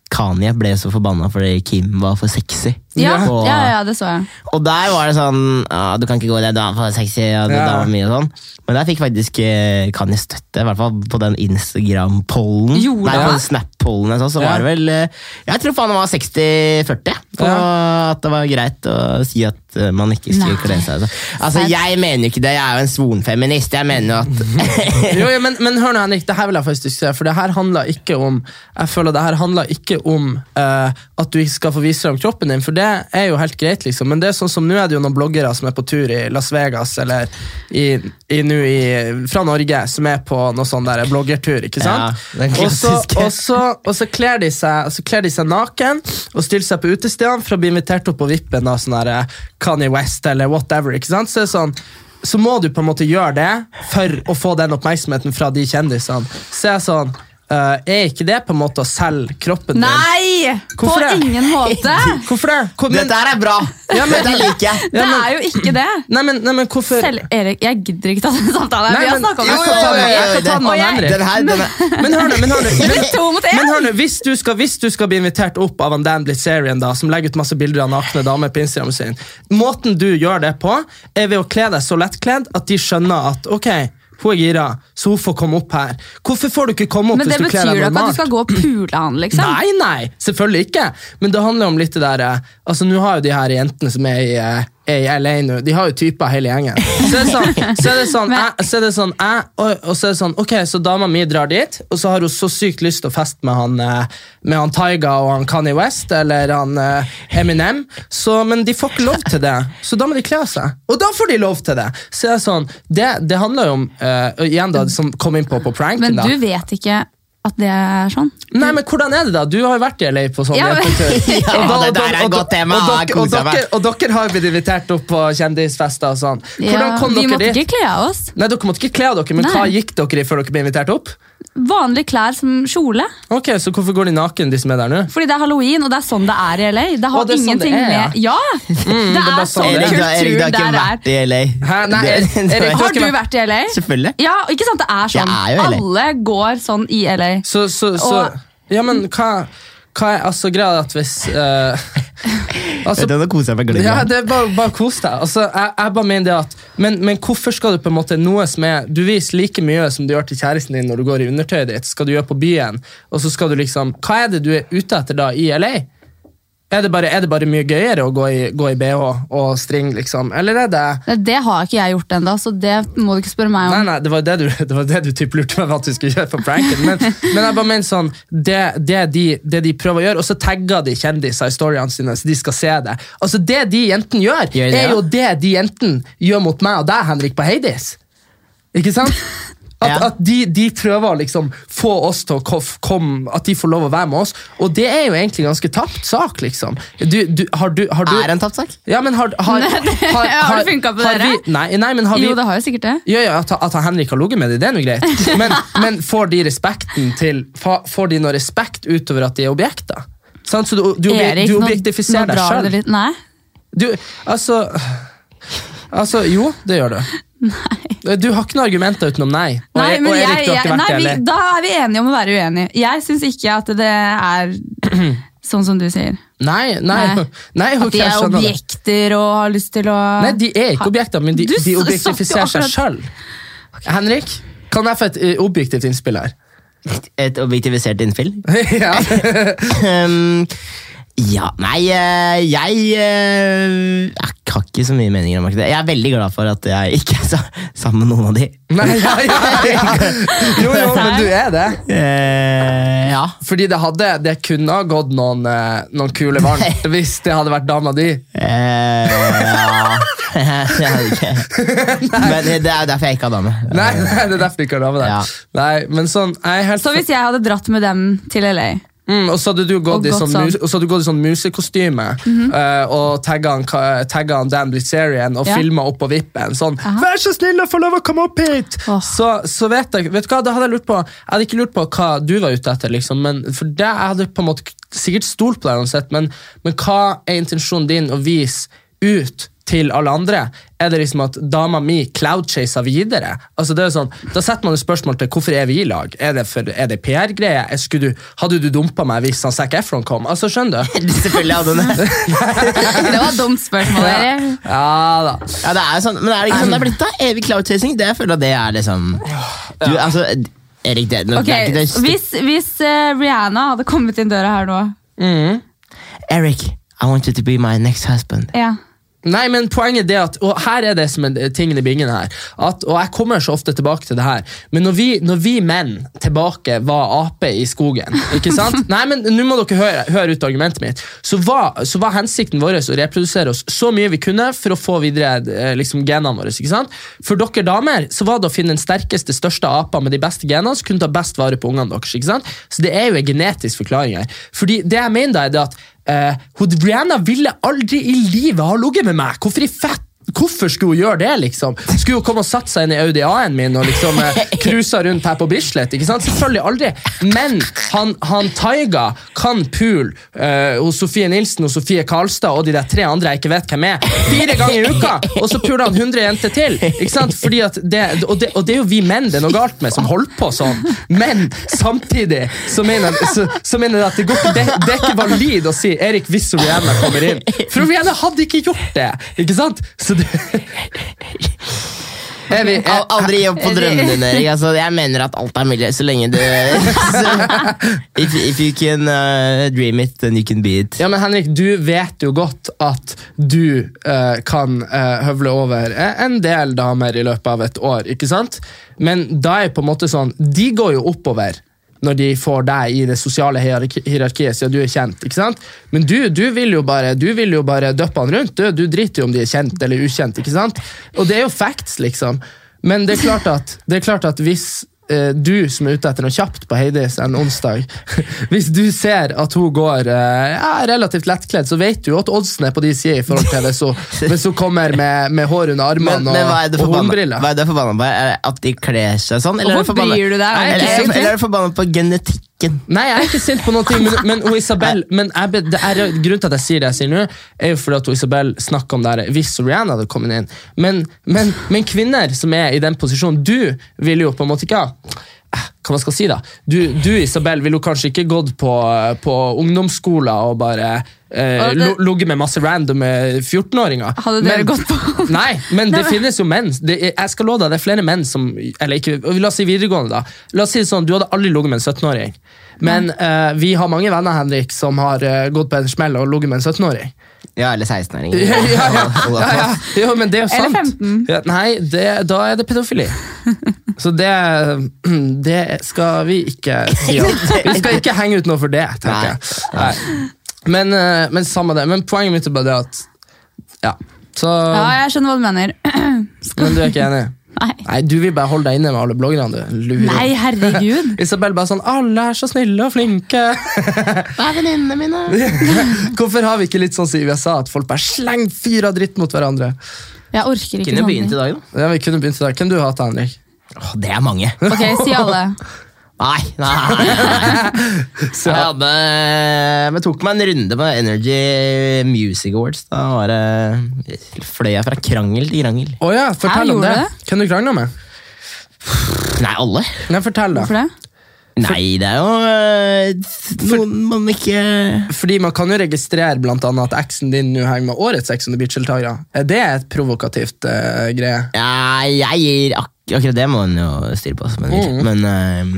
Speaker 3: Kanye ble så forbanna fordi Kim var for sexy?
Speaker 2: Ja,
Speaker 3: Og-
Speaker 2: ja, ja, det så jeg.
Speaker 3: Og der var det sånn ah, Du kan ikke gå i det, du er for sexy. Og det,
Speaker 1: Ja.
Speaker 3: da var mye sånn. Men der fikk faktisk eh, Kanye støtte, i hvert fall på den Instagram-pollen.
Speaker 2: Gjorde
Speaker 3: Nei, på
Speaker 2: han?
Speaker 3: den Snap-pollen jeg så, så
Speaker 1: Ja.
Speaker 3: var det vel eh, Jeg tror faen det var 60-40. På at det var greit å si at eh, man ikke skulle
Speaker 2: Nei.
Speaker 3: kle seg. Altså. altså, jeg mener jo ikke det, jeg er jo en svoren feminist. Jeg mener jo at
Speaker 1: jo, jo, men, men hør nå, Henrik, det her vil jeg faktisk ikke se, for det her handler ikke om Jeg føler det her handler ikke om eh, at du ikke skal få vise frem kroppen din, for det er jo helt greit, liksom. Men det er sånn som nå er det jo noen bloggere som er på tur i Las Vegas, eller i, i, nå i, fra Norge, som er på noe sånn der bloggertur, ikke sant?
Speaker 3: Ja, den
Speaker 1: og så,
Speaker 3: klassiske.
Speaker 1: og så, og så kler de seg, så kler de seg naken og stiller seg på utestedene for å bli invitert opp på vippen av sånn her, eh, Kanye West eller whatever. ikke sant? Så det er sånn, så må du på en måte gjøre det for å få den oppmerksomheten fra de kjendisene. Så jeg er sånn, eh, er ikke det på en måte å selge kroppen din?
Speaker 2: Nei! På
Speaker 1: Hvorfor det?
Speaker 2: ingen måte!
Speaker 1: Hvorfor det? Hvor, men,
Speaker 3: Dette her er bra!
Speaker 1: Ja, men-
Speaker 3: Dette liker jeg.
Speaker 2: Det er jo ikke det.
Speaker 1: nei, men, nei, men hvorfor?
Speaker 2: Selv Erik, jeg gidder ikke ta den samtalen.
Speaker 1: Nei,
Speaker 2: Vi har
Speaker 1: men-
Speaker 2: snakket om
Speaker 1: jo,
Speaker 2: det
Speaker 1: jo,
Speaker 2: så
Speaker 1: jo, jo,
Speaker 2: mye.
Speaker 1: jeg kan ta den med
Speaker 2: Og jeg-
Speaker 1: Henrik.
Speaker 3: Den her, den er
Speaker 1: Men hør nå, men hør nå.
Speaker 2: Det
Speaker 1: Men,
Speaker 2: er to mot én.
Speaker 1: men hør nå, hvis du, skal, hvis du skal bli invitert opp av en Dan Blitzerian, da, som legger ut masse bilder av nakne damer på Instagram sin, måten du gjør det på, er ved å kle deg så lettkledd at de skjønner at ok, hun er gira, så hun får komme opp her. Hvorfor får du ikke komme opp
Speaker 2: Men det
Speaker 1: hvis du
Speaker 2: betyr
Speaker 1: kler
Speaker 2: jo
Speaker 1: deg
Speaker 2: ikke at du
Speaker 1: normalt?
Speaker 2: skal gå og pule han, liksom.
Speaker 1: Nei, nei, selvfølgelig ikke. Men det handler om litt det der eh, Altså, nå har jo de her jentene som er i, eh, er i LA nå, de har jo typer hele gjengen. Så er det sånn, så er det sånn, jeg, så er det sånn jeg, og, og så er det sånn, ok, så dama mi drar dit, og så har hun så sykt lyst til å feste med han eh, med han Taiga og han Kanye West eller han eh, Eminem, så, men de får ikke lov til det. Så da må de kle seg. Og da får de lov til det! Så er det sånn, det, det handler jo om eh, og Igjen, da, som kom inn på på pranken,
Speaker 2: Men
Speaker 1: da.
Speaker 2: du vet ikke at det er sånn.
Speaker 1: Nei, men hvordan er det da? Du har jo vært i LA på sånn
Speaker 2: Ja, men-
Speaker 1: jentetur.
Speaker 3: Ja, det
Speaker 1: Og da- og da-
Speaker 3: der er et
Speaker 1: og da-
Speaker 3: godt tema,
Speaker 1: Og
Speaker 3: jeg
Speaker 1: dere, og,
Speaker 3: koser
Speaker 1: dere,
Speaker 3: meg.
Speaker 1: og dere har blitt invitert opp på kjendisfester og sånn. Hvordan
Speaker 2: Ja,
Speaker 1: kom
Speaker 2: vi
Speaker 1: dere
Speaker 2: måtte
Speaker 1: dit?
Speaker 2: ikke kle av oss.
Speaker 1: Nei, Dere måtte ikke kle av dere, men
Speaker 2: Nei.
Speaker 1: hva gikk dere i før dere ble invitert opp?
Speaker 2: Vanlige klær som kjole.
Speaker 1: Ok, Så hvorfor går de naken, de som er der nå?
Speaker 2: Fordi det er halloween, og det er sånn det er i LA. Det har
Speaker 1: Å, det er sånn
Speaker 2: ingenting
Speaker 1: det er, ja.
Speaker 2: med Ja! det
Speaker 1: er
Speaker 2: er
Speaker 1: bare sånn
Speaker 2: sånn
Speaker 1: det er.
Speaker 3: Erik, du har- Erik, du har
Speaker 2: kultur
Speaker 3: ikke
Speaker 2: der er.
Speaker 3: vært i LA.
Speaker 1: Hæ? Nei,
Speaker 3: Det-
Speaker 1: Erik, du har ikke
Speaker 2: Har du
Speaker 1: vært-
Speaker 2: vært i LA?
Speaker 3: Selvfølgelig.
Speaker 2: Ja, ikke sant? Det er sånn.
Speaker 3: Jeg er jo i LA.
Speaker 2: Alle går sånn i LA.
Speaker 1: Så, så, så
Speaker 2: Og-
Speaker 1: Ja, men hva, hva er altså greia at hvis eh, altså,
Speaker 3: Vet du, nå koser jeg meg gløgg.
Speaker 1: Ja, det er bare, bare kos deg. Altså, jeg, jeg bare mener det at men, men hvorfor skal du på en måte noe som er Du viser like mye som du gjør til kjæresten din når du går i undertøyet ditt, skal du gjøre på byen, og så skal du liksom Hva er det du er ute etter da i LA? Er det bare, er det bare mye gøyere å gå i, gå i bh og string, liksom? Eller er det
Speaker 2: Nei, Det har ikke jeg gjort ennå, så det må du ikke spørre meg om.
Speaker 1: Nei, nei, det var det du, det var det du typ lurte meg med at du skulle gjøre på pranken. Men, men jeg bare mener sånn, det, det, de, det de prøver å gjøre, og så tagger de kjendiser i storyene sine, så de skal se det. Altså, det de jentene gjør,
Speaker 3: Gjør de det,
Speaker 1: er
Speaker 3: ja?
Speaker 1: jo det de jentene gjør mot meg og deg, Henrik, på Heidis. Ikke sant? At,
Speaker 3: Ja.
Speaker 1: at de, de prøver å liksom få oss til å kof- komme At de får lov å være med oss. Og det er jo egentlig en ganske tapt sak, liksom. Du, du, har du, har du,
Speaker 3: Er det en tapt sak?
Speaker 1: Ja, men har, har, har, har,
Speaker 2: Har det funket på
Speaker 1: har
Speaker 2: dere?
Speaker 1: vi- Nei, nei, men har vi
Speaker 2: Jo, det har jo sikkert det.
Speaker 1: ja, ja, at, at han Henrik har ligget med det, det er noe greit. Men, men får de respekten til fa- Får de noe respekt utover at de er objekter? Sant? Så du, du, obje-
Speaker 2: Erik,
Speaker 1: du
Speaker 2: nå-
Speaker 1: objektifiserer
Speaker 2: nå
Speaker 1: deg
Speaker 2: drar du
Speaker 1: sjøl.
Speaker 2: litt- Nei.
Speaker 1: Du, altså Altså, jo, det gjør du. Du har ikke noen argumenter utenom nei. Og,
Speaker 2: Nei, men
Speaker 1: og Erik,
Speaker 2: jeg,
Speaker 1: du har
Speaker 2: jeg,
Speaker 1: ikke vært
Speaker 2: nei,
Speaker 1: det
Speaker 2: vi,
Speaker 1: heller.
Speaker 2: da er vi enige om å være uenige. Jeg syns ikke at det er sånn som du sier.
Speaker 1: Nei, nei.
Speaker 2: Nei.
Speaker 1: nei ok,
Speaker 2: At de
Speaker 1: jeg
Speaker 2: er
Speaker 1: skjønner det.
Speaker 2: objekter og har lyst til å
Speaker 1: Nei, de er ikke objekter, men de,
Speaker 2: Du
Speaker 1: de
Speaker 2: s-
Speaker 1: objektifiserer seg
Speaker 2: sa jo
Speaker 1: sjøl. Henrik, kan jeg få et eh, objektivt innspill her?
Speaker 3: Et objektivisert innfill?
Speaker 1: ja.
Speaker 3: Ehm, ja, nei, eh, jeg, eh, jeg har ikke så mye meninger om akkurat det. Jeg er veldig glad for at jeg ikke er sa- sammen med noen av de.
Speaker 1: Nei, ja, ja, ja. Jo, jo, men du er det.
Speaker 3: Eh, ja.
Speaker 1: Fordi det, hadde, det kunne ha gått noen, eh, noen kule varmt hvis det hadde vært dama di.
Speaker 3: Eh, ja. Jeg vet ikke. Men det er jo derfor jeg ikke har dame.
Speaker 1: Nei, nei, det er derfor du ikke har dame der.
Speaker 3: Ja.
Speaker 1: Nei, men sånn, jeg er helt...
Speaker 2: Så hvis jeg hadde dratt med dem til LA
Speaker 1: Mm, og så hadde du gått,
Speaker 2: Og
Speaker 1: i,
Speaker 2: gått
Speaker 1: sånn,
Speaker 2: sånn. Mhm.
Speaker 1: mus- og så hadde du gått i sånn musekostyme eh, og tagga han, ka- tagga han Dan Blitzerian og
Speaker 2: Ja.
Speaker 1: filma opp på vippen. Sånn
Speaker 2: Aha.
Speaker 1: 'Vær så snill å få lov å komme opp hit!'
Speaker 2: Åh.
Speaker 1: Så, så vet jeg vet du hva, da hadde Jeg lurt på Jeg hadde ikke lurt på hva du var ute etter, liksom, men for det jeg hadde på en måte k- sikkert stolt på deg uansett, men, men hva er intensjonen din å vise ut? til alle andre, er det liksom at dama mi cloudchaser videre? Altså det er jo sånn, Da setter man jo spørsmål til hvorfor er vi i lag. Er det, for- er det PR-greie? Er- skulle du- Hadde du dumpa meg hvis han Zac Efron kom? Altså, skjønner du?
Speaker 3: Eh, Selvfølgelig hadde hun det.
Speaker 2: Det var et dumt spørsmål. dere.
Speaker 1: Ja da.
Speaker 3: Ja, det er jo sånn, men er det ikke sånn det er blitt, da? Evig cloudchasing? Det jeg føler at det er liksom du, altså, Erik, det, nå,
Speaker 2: Ok,
Speaker 3: det er ikke det
Speaker 2: Hvis, hvis eh, Rihanna hadde kommet inn døra her nå
Speaker 3: Eric, I want you to be my next husband.
Speaker 2: ja.
Speaker 1: Nei, men poenget er at, og her er det som er tingen i bingen her, at, og jeg kommer så ofte tilbake til det her, men når vi, når vi menn tilbake var ape i skogen, ikke sant? Nei, men nå må dere høre, høre ut argumentet mitt, så var, så var hensikten vår å reprodusere oss så mye vi kunne for å få videre eh, liksom, genene våre, ikke sant? For dere damer, så var det å finne den sterkeste, største apa med de beste genene, som kunne ta best vare på ungene deres, ikke sant? Så det er jo en genetisk forklaring her. Fordi det jeg mener da er det at Eh, hun Rihanna ville aldri i livet ha ligget med meg. Hvorfor i fett? Hvorfor skulle hun gjøre det? liksom? Skulle hun komme og satt seg inn i Audi A-en min og liksom eh, cruisa rundt her på Bislett? ikke sant? Selvfølgelig aldri. Men han, han Taiga kan pool eh, hos Sofie Nilsen og Sofie Karlstad og de der tre andre jeg ikke vet hvem er, fire ganger i uka! Og så puler han 100 jenter til! ikke sant? Fordi at det, og, det, og det er jo vi menn det er noe galt med, som holder på sånn. Men samtidig så mener, så, så mener jeg at det, går, ikke- det, det er ikke valid å si Erik hvis Rihanna kommer inn. For Rihanna hadde ikke gjort det! Ikke sant? Så det er vi,
Speaker 3: Al-
Speaker 1: er,
Speaker 3: Aldri gi opp på drømmene dine, Erik. Altså, jeg mener at alt er mulig så lenge du så, if, if you can uh, dream it, then you can be it.
Speaker 1: ja, men Henrik, du vet jo godt at du eh, kan eh, høvle over eh, en del damer i løpet av et år, ikke sant? Men da er på en måte sånn De går jo oppover når de får deg i det sosiale hierarki hierarkiet, siden du er kjent. ikke sant? Men du, du vil jo bare du vil jo bare døppe han rundt. Du, du driter jo om de er kjent eller ukjent. ikke sant? Og det er jo facts, liksom. Men det er klart at, det er klart at hvis eh, du som er ute etter noe kjapt på Heidis en onsdag Hvis du ser at hun går eh, ja, relativt lettkledd, så vet du jo at oddsen er på de sider i forhold til hvis hun, hvis hun kommer med, med hår under
Speaker 3: Men,
Speaker 1: armene
Speaker 3: men hva er
Speaker 1: og,
Speaker 3: det
Speaker 1: og
Speaker 3: forbanna
Speaker 1: hornbriller.
Speaker 3: hva er det forbanna på? Er det At de kler seg sånn? Eller er det
Speaker 2: Hvorfor
Speaker 3: forbanna-
Speaker 2: bryr du deg?
Speaker 1: Nei,
Speaker 2: Er
Speaker 3: Eller
Speaker 2: det
Speaker 3: er
Speaker 2: ikke
Speaker 3: det-
Speaker 2: egentlig?
Speaker 3: eller er det forbanna på genetikken?
Speaker 1: Nei, jeg er ikke sint på noen ting, men, men hun Isabel men jeg, be- det er, Grunnen til at jeg sier det jeg sier nå, er jo fordi at hun Isabel snakker om det her hvis Rihanna hadde kommet inn. Men, men, men kvinner som er i den posisjonen Du ville jo på en måte ikke ha eh, Hva man skal si, da? Du, du Isabel, ville jo kanskje ikke gått på, på ungdomsskoler og bare eh,
Speaker 2: Og det-
Speaker 1: lo- ligget med masse random eh, 14-åringer.
Speaker 2: Hadde dere
Speaker 1: Men-
Speaker 2: gått på-
Speaker 1: Nei, men det finnes jo menn. Det, er- jeg skal love deg, det er flere menn som Eller ikke, la oss si videregående, da. La oss si det sånn, Du hadde aldri ligget med en 17-åring. Men eh, vi har mange venner Henrik, som har eh, gått på en smell og ligget med en 17-åring.
Speaker 3: Ja, eller 16-åring.
Speaker 1: Ja, ja, ja, ja, ja. Jo, men det er jo
Speaker 2: Eller
Speaker 1: sant.
Speaker 2: 15.
Speaker 1: Ja, nei, det, da er det pedofili. Så det, det skal vi ikke si. om. Vi skal ikke henge ut noe for det, tenker jeg. Nei. Men, eh, men samme det. Men poenget mitt er bare det at Ja. Så,
Speaker 2: ja, jeg skjønner hva du mener.
Speaker 1: men du er ikke enig?
Speaker 2: Nei.
Speaker 1: Nei, du vil bare holde deg inne med alle bloggerne, du. Lurer.
Speaker 2: Nei, herregud.
Speaker 1: Isabel bare sånn 'Alle er så snille og flinke'.
Speaker 3: Hva er venninnene mine?
Speaker 1: Hvorfor har vi ikke litt sånn som i USA, at folk bare slenger fyr av dritt mot hverandre?
Speaker 2: Jeg orker ikke
Speaker 3: Kunne begynt i
Speaker 2: sånn.
Speaker 3: dag, da.
Speaker 1: Ja, vi kunne begynt i dag. Hvem du hater, Henrik?
Speaker 3: Åh, det er mange.
Speaker 2: Ok, si alle.
Speaker 3: Nei, nei. Jeg hadde Vi tok meg en runde på Energy Music Awards. Da var det fløy jeg fra krangel til krangel.
Speaker 1: Å ja, fortell
Speaker 2: Jeg
Speaker 1: om
Speaker 2: gjorde
Speaker 1: det.
Speaker 2: det.
Speaker 1: Hvem du krangla med?
Speaker 3: Nei, alle.
Speaker 1: Nei, fortell da.
Speaker 2: Hvorfor det?
Speaker 3: Nei, det er jo øh, noen man ikke
Speaker 1: Fordi man kan jo registrere blant annet at eksen din nå henger med årets Ex on the Beach-deltakere. Er det et provokativt eh, greie?
Speaker 3: Ja, jeg gir ak Akkurat det må man jo styre på. Men, men øh,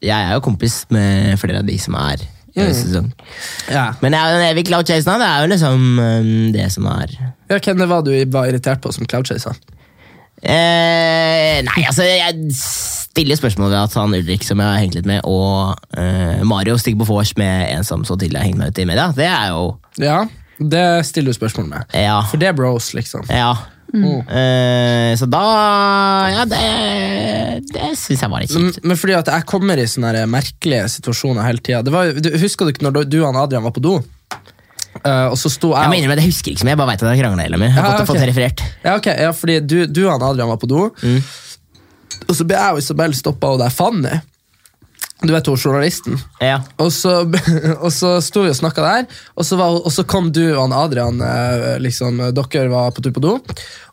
Speaker 3: jeg er jo kompis med flere av de som er i sesong.
Speaker 1: Ja.
Speaker 3: Men det er jo den evige cloud chasen, da. det er jo liksom øh, det som er
Speaker 1: ja, Hvem det var du var irritert på som cloudchaser?
Speaker 3: Eh, nei, altså, jeg stiller spørsmål ved at han Ulrik, som jeg har hengt litt med, og eh, Mario stikker på vors med en som så tidlig har hengt meg ut i media. Det er jo
Speaker 1: Ja, det stiller du spørsmål med.
Speaker 3: Ja.
Speaker 1: For det er bros, liksom.
Speaker 3: ja. Eh, så da Ja, det, det syns jeg var litt
Speaker 1: Men,
Speaker 3: kjipt.
Speaker 1: men fordi at jeg kommer i sånne her merkelige situasjoner hele tida. Husker du ikke når du- du og han Adrian var på do? Eh, og så sto jeg
Speaker 3: Jeg må innrømme at jeg husker ikke så mye, jeg bare veit at jeg krangla hele mye. Jeg har
Speaker 1: Ja,
Speaker 3: fått, fått
Speaker 1: ok.
Speaker 3: det referert.
Speaker 1: Ja, ok, ja, fordi du, du og han Adrian var på do, og så ble jeg og Isabel stoppa, og der Fanny, du vet hun journalisten,
Speaker 3: Ja.
Speaker 1: og så, og så sto vi og snakka der, og så, var, og så kom du og han Adrian, eh, liksom, dere var på tur på do,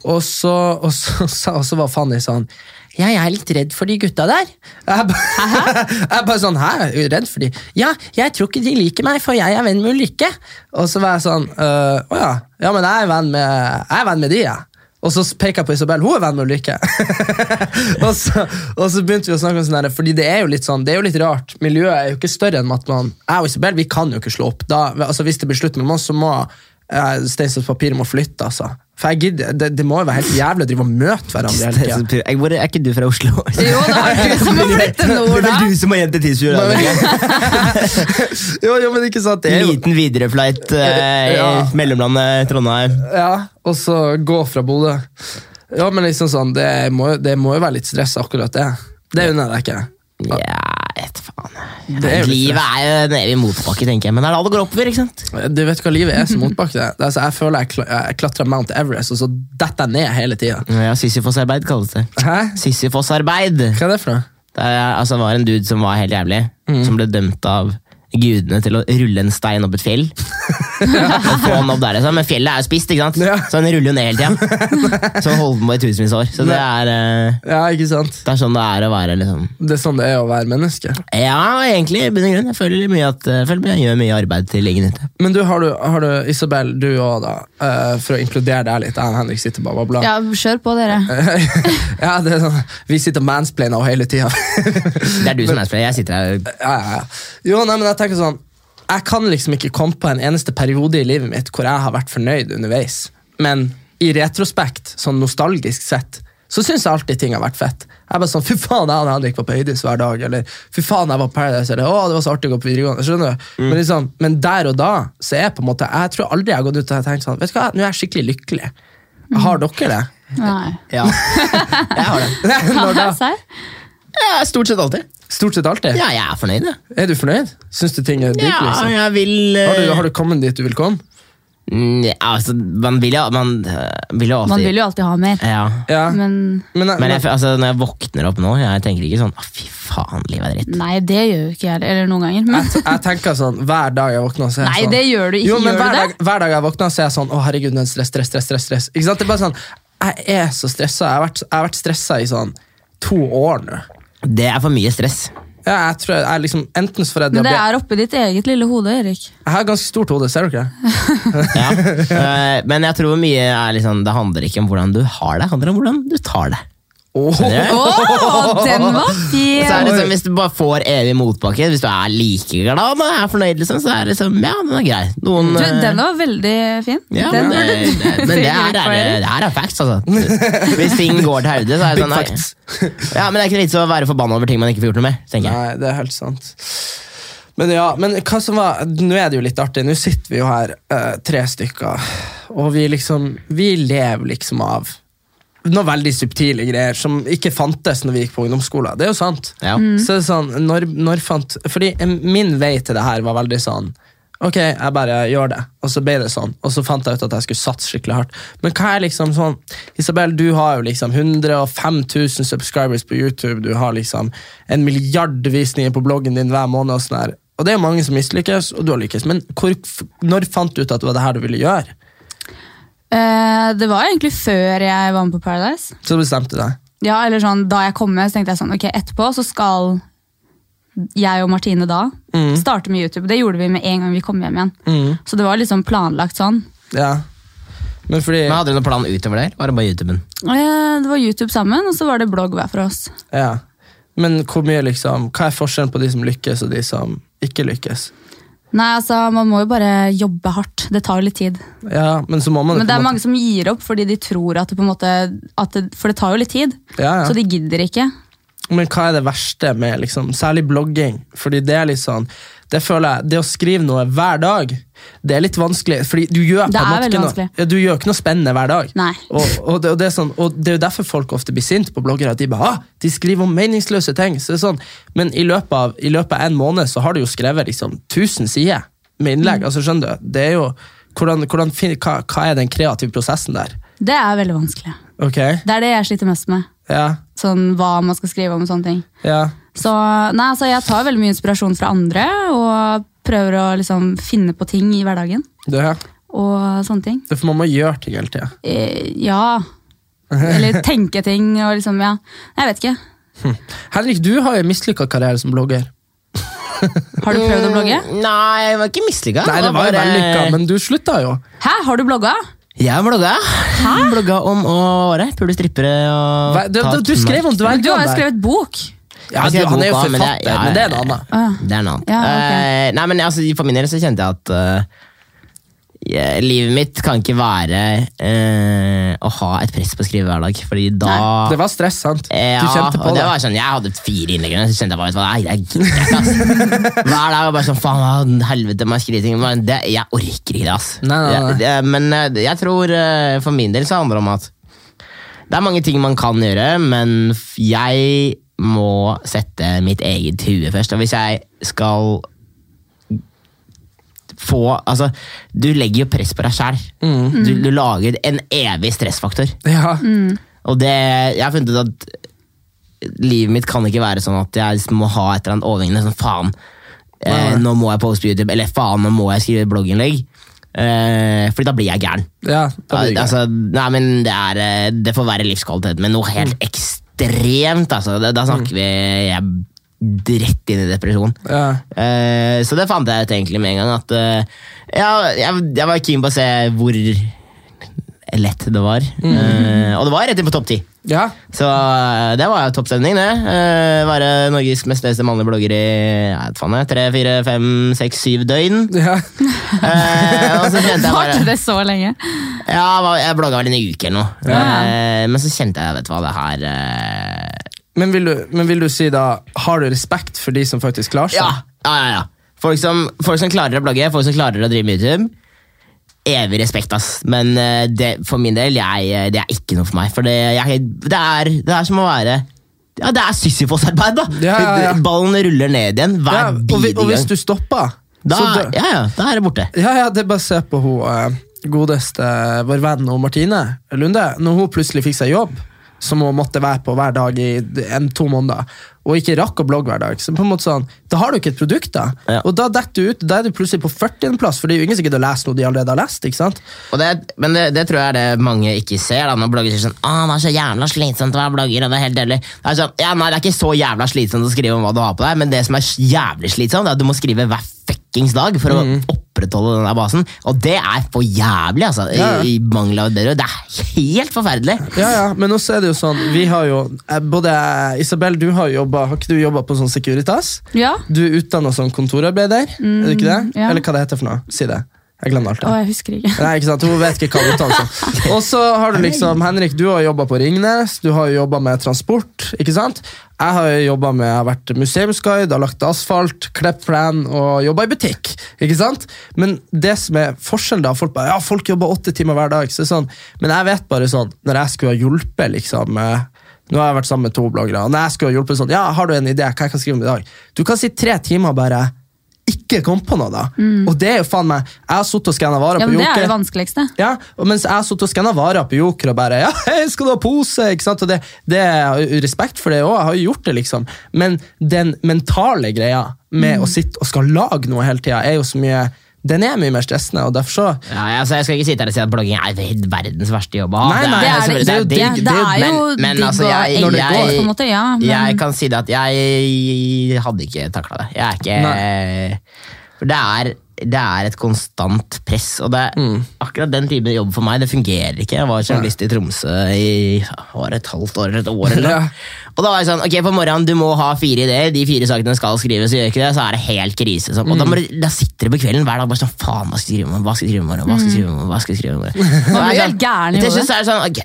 Speaker 1: og så, og så, sa- og så var Fanny sånn ja, jeg er litt redd for de gutta der. Jeg bare, jeg bare sånn, hæ? Er du redd for de? Ja, jeg tror ikke de liker meg, for jeg er venn med Ulrikke. Og så var jeg sånn, «Øh, å ja, ja, men jeg er venn med, jeg er venn med de, jeg. Og så peker jeg på Isabel, hun er venn med Ulrikke. og, så, og så begynte vi å snakke om sånn her, fordi det er jo litt sånn, det er jo litt rart. Miljøet er jo ikke større enn at man, jeg og Isabel, vi kan jo ikke slå opp. Da, altså hvis det blir slutt med oss, så må eh, Steinsets papir må flytte, altså. For jeg gidder, det, det må jo være helt jævlig å drive og møte hverandre hele tiden.
Speaker 3: Jeg- Hvor, er ikke du fra Oslo?
Speaker 4: Jo, da er det du som må flytte nord, da.
Speaker 3: du som har jente tidsfjord?
Speaker 1: jo, jo, men ikke sant, det er jo...
Speaker 3: Liten videreflight eh, i
Speaker 1: Ja.
Speaker 3: mellomlandet Trondheim.
Speaker 1: Ja, og så gå fra Bodø. Ja, men liksom sånn, det må, jo- det må jo være litt stress akkurat det. Det unner jeg deg ikke.
Speaker 3: Ja, jeg vet faen.
Speaker 1: Det er jo litt
Speaker 3: Livet er jo en evig motbakke, tenker jeg. Men det er da det går oppover, ikke sant?
Speaker 1: Du vet hva livet er som motbakke. det. Det er Altså, jeg føler jeg, kla jeg klatrer Mount Everest, og så detter jeg ned hele tida.
Speaker 3: Ja, Sisyfos-arbeid kalles det.
Speaker 1: Hæ?
Speaker 3: Sisyfos-arbeid!
Speaker 1: Hva er det for noe?
Speaker 3: Det er, altså, var en dude som var helt jævlig, som ble dømt av gudene til å rulle en stein opp et fjell. og få han opp der, liksom. Men fjellet er jo spist, ikke sant?
Speaker 1: Ja.
Speaker 3: så han ruller jo ned hele tida. så han holdt på i tusenvis av år. Så det er, eh,
Speaker 1: Ja, ikke sant?
Speaker 3: det er sånn det er å være liksom
Speaker 1: Det er sånn det er å være menneske.
Speaker 3: Ja, egentlig, i bunn og grunn. Jeg føler mye at jeg, føler jeg gjør mye arbeid til egen nytte.
Speaker 1: Men du, har du, har du Isabel, du òg, da, eh, for å inkludere deg litt. Jeg og Henrik sitter bare og babler.
Speaker 2: Ja, kjør på,
Speaker 1: Eh,
Speaker 2: dere.
Speaker 1: ja, det er sånn, vi sitter og mansplainer hele tida.
Speaker 3: Det er du som er spiller. Jeg sitter her og
Speaker 1: ja, ja, ja. Jo, nei, men jeg tenker sånn Jeg kan liksom ikke komme på en eneste periode i livet mitt hvor jeg har vært fornøyd underveis. Men i retrospekt, sånn nostalgisk sett, så syns jeg alltid ting har vært fett. Jeg er bare sånn, Fy faen, jeg og Henrik var på Høydis hver dag, eller fy faen, jeg var på Paradise, eller å, det var så artig å gå på videregående. skjønner du? Men, liksom, men der og da så er jeg på en måte, jeg tror aldri jeg har gått ut og tenkt sånn Vet du hva, nå er jeg skikkelig lykkelig. Har dere det?
Speaker 2: Nei.
Speaker 3: Ja, jeg har det.
Speaker 1: Når da?
Speaker 2: Serr?
Speaker 3: Ja, stort sett alltid.
Speaker 1: Stort sett alltid?
Speaker 3: Ja, jeg er fornøyd, jeg.
Speaker 1: Er du fornøyd? Syns du ting er digg? liksom?
Speaker 3: jeg vil
Speaker 1: Har
Speaker 2: Eh.
Speaker 1: du, har du kommet dit du vil komme?
Speaker 3: altså, Man vil jo Man øh, vil jo alltid
Speaker 2: Man vil jo alltid ha mer.
Speaker 1: Eh.
Speaker 3: Ja.
Speaker 1: Ja.
Speaker 2: Men
Speaker 1: Men,
Speaker 3: Men jeg, altså, når jeg våkner opp nå, jeg tenker ikke sånn «Å, Fy faen, livet er dritt.
Speaker 2: nei, det gjør jo ikke jeg heller. Eller noen ganger. Men
Speaker 1: jeg, jeg tenker sånn hver dag jeg våkner, så er jeg
Speaker 2: Nei,
Speaker 1: sånn
Speaker 2: det gjør du ikke.
Speaker 1: Jo, men
Speaker 2: Gjør du
Speaker 1: hver,
Speaker 2: det?
Speaker 1: dag, hver dag jeg våkner, så er jeg sånn Å, herregud, nå er det stress, stress, stress. stress, stress. Ikke sant? Det er bare sånn Jeg er så stressa. Jeg har vært, jeg har vært stressa i sånn to år nå.
Speaker 3: Det er for mye stress.
Speaker 1: Ja, jeg tror jeg, jeg liksom Enten så får jeg
Speaker 2: Men det
Speaker 1: diabetes
Speaker 2: er oppi ditt eget lille hode, Erik.
Speaker 1: Jeg har ganske stort hode, ser du ikke? det?
Speaker 3: Ja. Eh, Men jeg tror mye er liksom Det handler ikke om hvordan du har det, det handler om hvordan du tar det.
Speaker 1: Åh,
Speaker 3: Skjønner du?
Speaker 2: Å, den var
Speaker 3: Og så er
Speaker 2: fin!
Speaker 3: det liksom, hvis du bare får evig motbakke, hvis du er like glad og er fornøyd, liksom, så er det liksom, ja, den er grei. Noen,
Speaker 2: Du,
Speaker 3: eh,
Speaker 2: den var veldig fin.
Speaker 3: Ja,
Speaker 2: den
Speaker 3: men, eh, det,
Speaker 2: burde du-
Speaker 3: det, men det, her
Speaker 2: Erik
Speaker 3: er,
Speaker 2: Farley.
Speaker 3: det her er facts, altså. Hvis ting går til hodet, så er det sånn nei.
Speaker 1: facts.
Speaker 3: Ja, Men det er ikke vits i å være forbanna over ting man ikke får gjort noe med. tenker jeg.
Speaker 1: Nei, det er helt sant. Men ja, men hva som var Nå er det jo litt artig. Nå sitter vi jo her, eh, tre stykker, og vi liksom Vi lever liksom av noen veldig subtile greier som ikke fantes når vi gikk på ungdomsskolen. Det er jo sant.
Speaker 3: Ja.
Speaker 1: Så det er sånn, når, når fant Fordi eh, min vei til det her var veldig sånn Ok, jeg bare gjør det, og så ble det sånn. Og så fant jeg ut at jeg skulle satse skikkelig hardt. Men hva er liksom sånn Isabel, du har jo liksom 105 000 subscribers på YouTube, du har liksom en milliard visninger på bloggen din hver måned. og sånn her. Og det er jo mange som mislykkes, og du har lykkes. Men hvor, f- når fant du ut at det var det her du ville gjøre?
Speaker 2: Eh, Det var egentlig før jeg var med på Paradise.
Speaker 1: Så bestemte du deg.
Speaker 2: Ja, eller sånn, Da jeg kom med, så tenkte jeg sånn, ok, etterpå så skal jeg og Martine da
Speaker 3: Mm.
Speaker 2: starte med YouTube. Det gjorde vi med en gang vi kom hjem igjen.
Speaker 1: Mm.
Speaker 2: Så det var liksom planlagt sånn.
Speaker 1: Ja. Men fordi
Speaker 3: Men Hadde dere noen plan utover der? Var det bare YouTuben?
Speaker 2: Eh, Det var YouTube sammen, og så var det blogg hver for oss.
Speaker 1: ja. Men hvor mye liksom Hva er forskjellen på de som lykkes, og de som ikke lykkes?
Speaker 2: Nei, altså, man må jo bare jobbe hardt. Det tar jo litt tid.
Speaker 1: Ja, men så må man jo på
Speaker 2: Men det er
Speaker 1: en måte-
Speaker 2: mange som gir opp fordi de tror at det på en måte at det, For det tar jo litt tid,
Speaker 1: Ja, ja.
Speaker 2: så de gidder ikke.
Speaker 1: Men hva er det verste med liksom, særlig blogging? Fordi det er litt sånn det føler jeg, det å skrive noe hver dag, det er litt vanskelig. Fordi du gjør
Speaker 2: Det
Speaker 1: på en
Speaker 2: er
Speaker 1: måte
Speaker 2: veldig
Speaker 1: ikke noe,
Speaker 2: vanskelig.
Speaker 1: ja, du gjør ikke noe spennende hver dag.
Speaker 2: Nei.
Speaker 1: Og, og, det, og, det er sånn, og det er jo derfor folk ofte blir sinte på bloggere. At de bare, ah, de skriver om meningsløse ting. Så det er sånn, men i løpet, av, i løpet av en måned så har du jo skrevet liksom 1000 sider med innlegg.
Speaker 2: Mm.
Speaker 1: altså skjønner du? Det er jo, hvordan, hvordan, fin- hva, hva er den kreative prosessen der?
Speaker 2: Det er veldig vanskelig.
Speaker 1: Ok,
Speaker 2: Det er det jeg sliter mest med.
Speaker 1: ja,
Speaker 2: Sånn hva man skal skrive om og sånne ting.
Speaker 1: ja.
Speaker 2: Så nei, altså, jeg tar veldig mye inspirasjon fra andre og prøver å liksom finne på ting i hverdagen.
Speaker 1: Det, er-
Speaker 2: Og sånne ting.
Speaker 1: det er for man må gjøre ting hele tida.
Speaker 2: Eh, ja. Eller tenke ting og liksom, ja. Jeg vet ikke.
Speaker 1: Henrik, du har jo en mislykka karriere som blogger.
Speaker 2: Har du prøvd å blogge?
Speaker 3: Nei, jeg var ikke mislykka.
Speaker 1: Nei, det var
Speaker 3: bare-
Speaker 1: jo vellykka, men du slutta jo.
Speaker 2: Hæ, har du blogga?
Speaker 3: Jeg blogga. Blogga om å være pule strippere og
Speaker 1: Hva- Du, du, du
Speaker 3: tatt
Speaker 1: skrev om
Speaker 2: Men du har jo
Speaker 1: dvergene der.
Speaker 2: skrevet bok.
Speaker 1: Ja,
Speaker 3: Altså, Jeg
Speaker 1: du,
Speaker 3: skrev
Speaker 1: han er jo
Speaker 3: boka, men det-
Speaker 1: forfatter,
Speaker 3: ja, ja,
Speaker 1: men det er en annen.
Speaker 2: Ah,
Speaker 3: Det er noe annet.
Speaker 2: Ja, ok.
Speaker 3: Eh, nei, men altså, For min del så kjente jeg at eh, jeg- livet mitt kan ikke være eh, å ha et press på å skrive hver dag. Fordi da
Speaker 1: Det var stress, sant?
Speaker 3: Ja,
Speaker 1: du kjente på
Speaker 3: og
Speaker 1: det.
Speaker 3: det var sånn, Jeg hadde fire innlegg, og så kjente jeg bare vet du hva, Nei, jeg gidder ikke. ass. Hver dag var jeg bare sånn Faen, hva, helvete, må jeg skrive ting? Men det, jeg orker ikke det, ass.
Speaker 1: Nei, nei, nei.
Speaker 3: Jeg- det- men eh, jeg tror eh, for min del så handler det om at det er mange ting man kan gjøre, men f- jeg må sette mitt eget hue først. Og hvis jeg skal få Altså, du legger jo press på deg sjæl.
Speaker 1: Mm.
Speaker 3: Du, du lager en evig stressfaktor.
Speaker 1: Ja.
Speaker 3: Og det, jeg har funnet ut at livet mitt kan ikke være sånn at jeg må ha et eller annet overhengende sånn faen, eh, nå må jeg poste på YouTube, eller faen, nå må jeg skrive blogginnlegg. Eh, fordi da blir jeg gæren.
Speaker 1: ja da blir det
Speaker 3: Altså, nei, men det, er, eh, det får være livskvalitet, men noe helt
Speaker 1: Mm.
Speaker 3: ekstremt, altså. Da, da snakker vi jeg, rett inn i depresjon.
Speaker 1: gøy. ja.
Speaker 3: Eh, så det fant jeg ut egentlig med en gang. At, eh, ja, jeg, jeg var keen på å se hvor lett det var.
Speaker 1: Mm.
Speaker 3: Eh, og det var rett inn på topp ti.
Speaker 1: ja.
Speaker 3: Så eh, det var jo toppstemning, det. Eh, være Norges mest leste mannlige blogger i jeg vet faen jeg, tre, fire, fem, seks, syv døgn.
Speaker 1: ja.
Speaker 3: Eh, og så kjente jeg
Speaker 2: Varte
Speaker 3: bare
Speaker 2: det så lenge?
Speaker 3: Ja, jeg var- jeg blogga vel en uke eller noe. Eh, men så kjente jeg, vet du hva, det her eh,
Speaker 1: Men, vil du, men vil du si da, har du respekt for de som faktisk klarer seg?
Speaker 3: Ja, ja, ja, ja. Folk, som, folk som klarer å blogge, folk som klarer å drive med YouTube. Evig respekt, ass. Men eh, det, for min del, jeg, eh, det er ikke noe for meg. For det, jeg, det, er, det er som å være ja, Det er Sisyfos-arbeid, da!
Speaker 1: Ja, ja, ja.
Speaker 3: Ballen ruller ned igjen hver
Speaker 1: Ja, og, vi,
Speaker 3: bidige
Speaker 1: og hvis
Speaker 3: gang.
Speaker 1: du stopper,
Speaker 3: Da,
Speaker 1: så dø-
Speaker 3: ja, ja, da er det borte.
Speaker 1: Ja, ja, det er bare å se på hun eh, godeste eh, vår venn og Martine Lunde. Når hun plutselig fikk seg jobb, som hun måtte være på hver dag i en, to måneder, og ikke rakk å blogge hver dag, så på en måte sånn, da har du ikke et produkt. da.
Speaker 3: Ja.
Speaker 1: Og da detter du ut, da er du plutselig på 40.-plass, for det er jo ingen som gidder å lese noe de allerede har lest. ikke sant?
Speaker 3: Og det, men det, det tror jeg er det mange ikke ser. da, Når blogger sier sånn ah, 'Det er så jævla slitsomt å være blogger', og det er helt deilig. Det er sånn, ja, nei, det er ikke så jævla slitsomt å skrive om hva du har på deg, men det som er jævlig slitsomt, det er at du må skrive hver fuckings dag for å
Speaker 2: Mhm.
Speaker 3: opprettholde den der basen. Og det er for jævlig, altså. I,
Speaker 1: Ja, ja.
Speaker 3: i mangel av et bedre ord. Det er helt forferdelig.
Speaker 1: Ja, ja, Men også er det jo sånn, vi har jo eh, Både Isabel, du har jo jobbet, har ikke du jobba på sånn Securitas?
Speaker 2: Ja.
Speaker 1: Du er utdanna som kontorarbeider, er du ikke det?
Speaker 2: Mm, ja.
Speaker 1: Eller hva det heter for noe? Si det. Jeg glemmer alt. det.
Speaker 2: Å, jeg husker ikke.
Speaker 1: Nei, ikke sant, Hun vet ikke hva uttalelse er. Og så har du liksom, Henrik, du har jobba på Ringnes, du har jobba med transport. ikke sant? Jeg har jobba med, jeg har vært museumsguide, har lagt asfalt, klippet plen og jobba i butikk. ikke sant? Men det som er forskjellen da, folk bare, ja, folk jobber åtte timer hver dag. så det er sånn, Men jeg vet bare sånn, når jeg skulle ha hjulpet liksom, eh, nå har jeg vært sammen med to bloggere, og når jeg skulle ha hjulpet sånn, ja, har du en idé, hva jeg kan skrive om i dag? Du kan si tre timer bare, ikke kom på noe da. Og det er jo faen meg, jeg har suttet og skannet varer
Speaker 2: Ja,
Speaker 1: på
Speaker 2: men Det
Speaker 1: Joker.
Speaker 2: er det vanskeligste.
Speaker 1: Ja, og mens jeg satt og skanna varer på Joker og bare ja, hei, skal du ha pose? ikke sant? Og det, det er jo Respekt for det òg, jeg har jo gjort det, liksom.
Speaker 2: Mm.
Speaker 1: Men den mentale greia med å sitte og skal lage noe hele tida, er jo så mye den er mye mer stressende, og derfor så
Speaker 3: Ja, altså, jeg skal ikke sitte her og si at blogging er ved- verdens verste jobb å ha. altså
Speaker 1: Nei, nei,
Speaker 2: Det er altså, det
Speaker 3: selvfølgelig-
Speaker 2: ikke. Det er-
Speaker 3: digg,
Speaker 2: det er
Speaker 3: men-
Speaker 2: jo
Speaker 3: men,
Speaker 2: digg
Speaker 3: altså,
Speaker 2: og
Speaker 3: jeg-
Speaker 2: enkelt,
Speaker 3: jeg-
Speaker 2: på en måte, ja, men-
Speaker 3: Jeg kan si det at jeg hadde ikke takla det. Jeg er ikke For det er, det er et konstant press, og det,
Speaker 2: Mm.
Speaker 3: akkurat den typen jobb for meg, det fungerer ikke. Jeg var journalist i Tromsø i var det et halvt år eller et år. eller noe.
Speaker 1: Ja.
Speaker 3: Og da var jeg sånn, ok, på morgenen du må ha fire ideer, de fire sakene skal skrives, gjør jeg ikke det, så er det helt krise. Sånn.
Speaker 2: Mm.
Speaker 3: Og da, må, du- da sitter du på kvelden hver dag bare sånn, faen, hva skal jeg skrive om, hva skal jeg skrive om, i morgen? hva skal jeg skrive om, hva skal jeg skrive om. i morgen? Og
Speaker 2: blir
Speaker 3: jeg sånn, er
Speaker 2: helt gæren i
Speaker 3: til
Speaker 2: hodet.
Speaker 3: slutt så er det sånn, ok,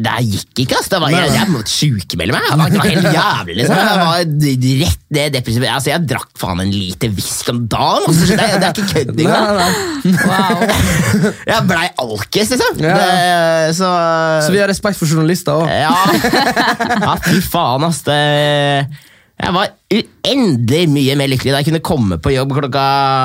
Speaker 3: det her gikk ikke, ass. Det var, jeg, jeg måtte sykemelde meg, det var, det var helt jævlig, liksom. Det var d- rett det depressivt. Altså, jeg drakk faen en liter whisky om dagen, altså, så det, det er ikke kødd
Speaker 1: Nei,
Speaker 3: engang.
Speaker 1: nei, nei.
Speaker 3: Jeg blei alkes, liksom.
Speaker 1: Ja.
Speaker 3: Det, så,
Speaker 1: Så vi har respekt for journalister òg.
Speaker 3: ja. ja, fy faen, ass. Det, jeg var uendelig mye mer lykkelig da jeg kunne komme på jobb klokka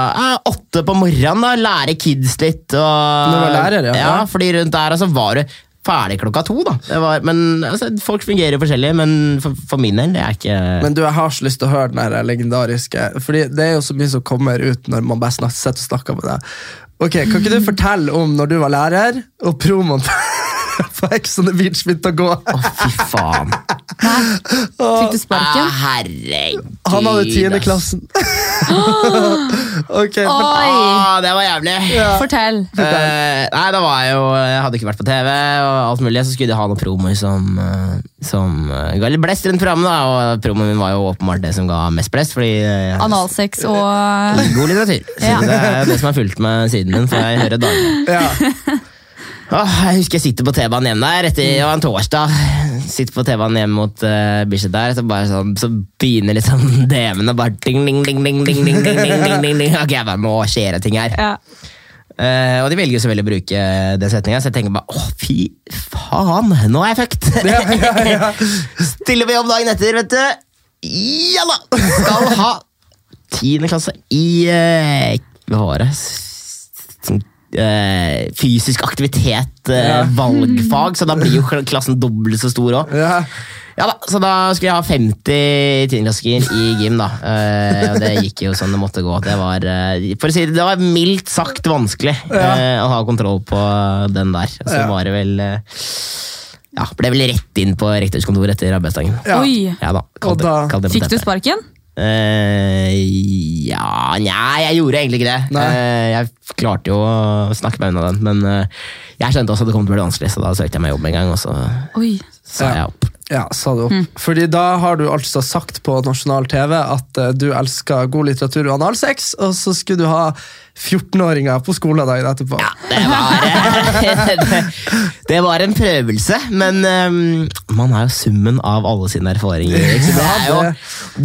Speaker 3: eh, åtte på morgenen. da, Lære kids litt. Og,
Speaker 1: Når du var lærer, ja.
Speaker 3: ja. fordi rundt der altså, var du ferdig klokka to. da. Det var, men altså, Folk fungerer forskjellig, men for, for min del det er ikke
Speaker 1: Men du, jeg har så lyst til å høre den her legendariske Fordi det er jo så mye som kommer ut når man bare snak, sitter og snakker med deg. Ok, Kan ikke du fortelle om når du var lærer, og promoen på Ex on the Beach begynte å gå?
Speaker 3: Å, fy faen.
Speaker 2: Fikk du
Speaker 3: Ah,
Speaker 2: sparken?
Speaker 3: herregud.
Speaker 1: Han hadde tiende
Speaker 3: ass.
Speaker 1: klassen. ok, for,
Speaker 2: Oi!
Speaker 3: Ah, det var jævlig.
Speaker 2: Fortell.
Speaker 3: Eh, nei, da var jeg jo Jeg hadde ikke vært på TV og alt mulig, så skulle de ha noen promoer som, eh, som eh, ga litt blest rundt programmet, da, og promoen min var jo åpenbart det som ga mest blest, fordi eh,
Speaker 2: Analsex og
Speaker 3: God litteratur. Så
Speaker 2: Ja.
Speaker 3: Det er det som har fulgt med siden min, får jeg høre daglig.
Speaker 1: ja.
Speaker 3: Åh, jeg husker jeg sitter på T-banen hjem der etter, Det var en torsdag Sitter på T-banen hjem mot uh, Bislett der så, bare sånn, så begynner liksom DM-ene bare ding, ding, ding, ding, ding, ding, ding, ding, ding, ding, ding. Ok, jeg bare må skjere ting her
Speaker 2: Ja.
Speaker 3: Eh, Og de velger selvfølgelig å bruke den setningen Så jeg tenker bare, åh fy faen Nå er jeg fucked Stiller på jobb dagen etter, vet du Ja da Skal ha 10. klasse i eh, Hva var det? S- Sånn, eh, fysisk aktivitet, eh,
Speaker 1: Ja.
Speaker 3: valgfag, så da blir jo kl- klassen dobbelt så stor òg.
Speaker 1: Ja.
Speaker 3: Ja da, så da skulle jeg ha 50 tiendeklassinger i gym, da. Eh, og det gikk jo sånn det måtte gå. Det var, eh, for å si det, det var mildt sagt vanskelig eh, å ha kontroll på den der. Så
Speaker 1: Ja.
Speaker 3: var det vel eh, Ja, ble vel rett inn på rektors kontor etter arbeidsdagen.
Speaker 1: Ja.
Speaker 2: Oi!
Speaker 3: Ja da,
Speaker 1: Og
Speaker 3: kalt det-
Speaker 1: da
Speaker 3: kalt det på
Speaker 2: Fikk du
Speaker 3: teppet.
Speaker 2: sparken?
Speaker 3: Eh, ja Nei, jeg gjorde egentlig ikke det.
Speaker 1: Nei.
Speaker 3: Eh, jeg klarte jo å snakke meg unna den, men eh, jeg skjønte også at det kom til å bli vanskelig, så da søkte jeg meg jobb en gang, og så
Speaker 2: Oi.
Speaker 3: sa
Speaker 1: Ja.
Speaker 3: jeg opp.
Speaker 1: Ja, sa du opp.
Speaker 3: Mm.
Speaker 1: Fordi da har du altså sagt på nasjonal TV at eh, du elsker god litteratur og analsex, og så skulle du ha 14-åringer på skolen dagen etterpå.
Speaker 3: Ja, det var det, det var en prøvelse, men eh, man er jo summen av alle sine erfaringer. Erik, Så det, er jo,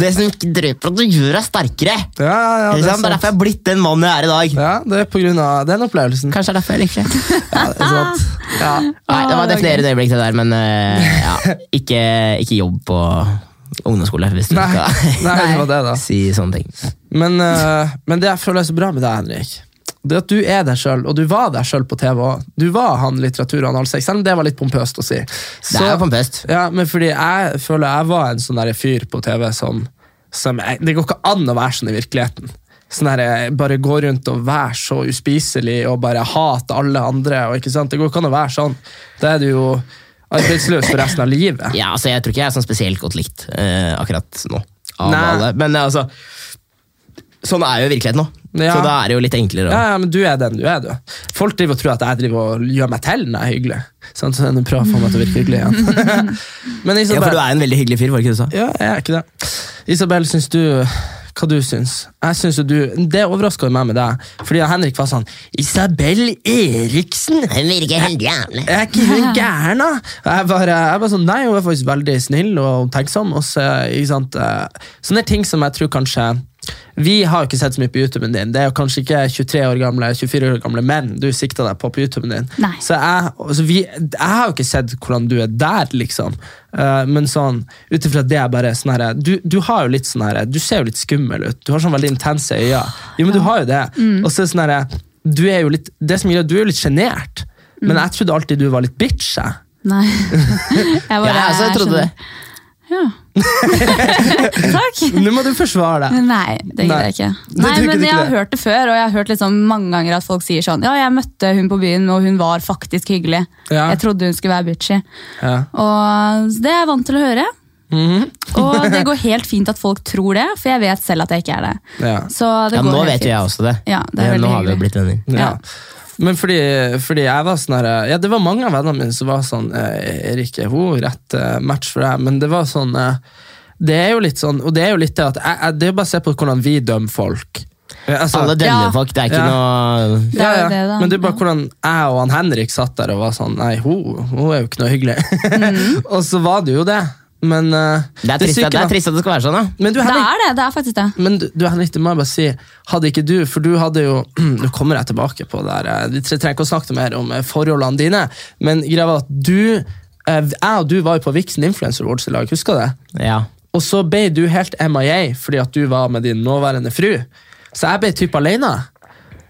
Speaker 3: det som ikke drøper at du gjør deg sterkere.
Speaker 1: Ja, ja, ja,
Speaker 3: Ikke sant? det
Speaker 1: det er
Speaker 3: er
Speaker 1: sant.
Speaker 3: derfor jeg er blitt den mannen jeg er i dag.
Speaker 1: Ja, det er på grunn av den opplevelsen.
Speaker 3: Kanskje det er derfor jeg liker det.
Speaker 1: Ja, det er sant. Ja.
Speaker 3: Nei, det var
Speaker 2: det
Speaker 3: et
Speaker 2: var
Speaker 3: definerende øyeblikk det der, men eh, ja, ikke, ikke jobb på ungdomsskole hvis du
Speaker 1: Nei,
Speaker 3: skal
Speaker 1: nei, det var det da.
Speaker 3: si sånne ting.
Speaker 1: Men, eh, men det jeg føler er så bra med deg, Henrik, det at du er deg sjøl, og du var deg sjøl på TV òg. Du var han litteratur- og analsex, selv om det var litt pompøst å si.
Speaker 3: Det er jo pompøst.
Speaker 1: Ja, men fordi jeg føler jeg var en sånn der fyr på TV som, som jeg, Det går ikke an å være sånn i virkeligheten. Sånn der, jeg Bare gå rundt og være så uspiselig og bare hate alle andre. Og, ikke sant? Det går ikke an å være sånn. Da er du jo arbeidsløs for resten av livet.
Speaker 3: Ja, altså, jeg tror ikke jeg er sånn spesielt godt likt eh, akkurat nå. Av
Speaker 1: Nei.
Speaker 3: alle. Men eh, altså, sånn er jo virkeligheten nå.
Speaker 1: Ja.
Speaker 3: Så da er det jo litt enklere. å-
Speaker 1: Ja, ja, men du er den du er, du. Folk driver og tror at jeg driver og gjør meg til når jeg er hyggelig. Sant? Så nå prøver jeg å få meg til å virke hyggelig igjen. men
Speaker 3: Ja, for
Speaker 1: Isabel,
Speaker 3: du er en veldig hyggelig fyr, var det ikke det du sa?
Speaker 1: Ja, jeg er ikke det. Isabel, syns du hva du syns? Jeg synes jo du, Det overraska meg med deg, fordi Henrik var sånn Isabel Eriksen!
Speaker 3: Hun virker helt jævlig.
Speaker 1: Er ikke hun gæren, da? Og Jeg bare, jeg bare sånn, Nei, hun er faktisk veldig snill og omtenksom. Og så, ikke sant? eh, Sånne ting som jeg tror kanskje Vi har jo ikke sett så mye på YouTuben din. Det er jo kanskje ikke 23 år gamle, 24 år gamle menn du sikta deg på på YouTuben din.
Speaker 2: Nei.
Speaker 1: Så jeg, altså vi, jeg har jo ikke sett hvordan du er der, liksom. Eh, men sånn, ut ifra det jeg bare sånn herre du, du har jo litt sånn herre Du ser jo litt skummel ut. Du har sånn veldig intense øyne. Jo, men du har jo det. Og så er det sånn herre Du er jo litt Det som gir at du er jo litt sjenert. Men jeg trodde alltid du var litt bitch. Jeg.
Speaker 2: Nei. Jeg bare
Speaker 3: Ja, altså, jeg trodde
Speaker 2: skjønner.
Speaker 3: det.
Speaker 2: Ja. Takk!
Speaker 1: Nå må du forsvare deg.
Speaker 2: Nei, det gidder
Speaker 1: Nei.
Speaker 2: jeg ikke.
Speaker 1: Det
Speaker 2: Nei,
Speaker 1: tror ikke
Speaker 2: men
Speaker 1: du
Speaker 2: Jeg
Speaker 1: ikke
Speaker 2: har
Speaker 1: det.
Speaker 2: hørt det før, og jeg har hørt liksom mange ganger at folk sier sånn Ja, jeg møtte hun på byen, og hun var faktisk hyggelig.
Speaker 1: Ja.
Speaker 2: Jeg trodde hun skulle være bitchy.
Speaker 1: Ja.
Speaker 2: Og Det er jeg vant til å høre.
Speaker 3: Mhm.
Speaker 2: og det går helt fint at folk tror det, for jeg vet selv at jeg ikke er det.
Speaker 1: Ja.
Speaker 2: Så det
Speaker 3: Ja,
Speaker 2: går
Speaker 3: nå
Speaker 2: helt
Speaker 3: vet jo
Speaker 2: fint.
Speaker 3: jeg også det.
Speaker 2: Ja, det er veldig
Speaker 3: nå har vi jo
Speaker 2: hyggelig.
Speaker 3: blitt venner.
Speaker 2: Ja.
Speaker 1: Ja. Men fordi, fordi jeg var sånn her, ja, Det var mange av vennene mine som var sånn eh, Erik, er hun rett eh, match for deg? Men det var sånn eh, Det er jo litt sånn Og det er jo litt det at jeg, jeg, Det er jo bare å se på hvordan vi dømmer folk. Eh, altså-
Speaker 3: Alle dømmer
Speaker 2: Ja.
Speaker 3: folk, det er ikke
Speaker 1: Ja.
Speaker 3: noe
Speaker 2: Det er jo det, da.
Speaker 1: Men det er bare hvordan jeg og han Henrik satt der og var sånn Nei, hun, hun er jo ikke noe hyggelig.
Speaker 2: Mm.
Speaker 1: og så var det jo det. Men eh,
Speaker 3: Det er trist,
Speaker 1: syke
Speaker 3: at- det
Speaker 1: var-
Speaker 3: er trist at det skal være sånn, da.
Speaker 1: Men du,
Speaker 2: Det
Speaker 1: Henrik,
Speaker 2: er det. Det er faktisk det.
Speaker 1: men du, du, Henrik, det må jeg bare si. Hadde ikke du, for du hadde jo Nå kommer jeg tilbake på det her. eh, Vi tre- trenger ikke å snakke noe mer om eh, forholdene dine, men greia var at du eh, Jeg og du var jo på Vixen Influencer Awards i lag, husker du det?
Speaker 3: Ja.
Speaker 1: Og så ble du helt MIA fordi at du var med din nåværende fru. Så jeg ble typ alene.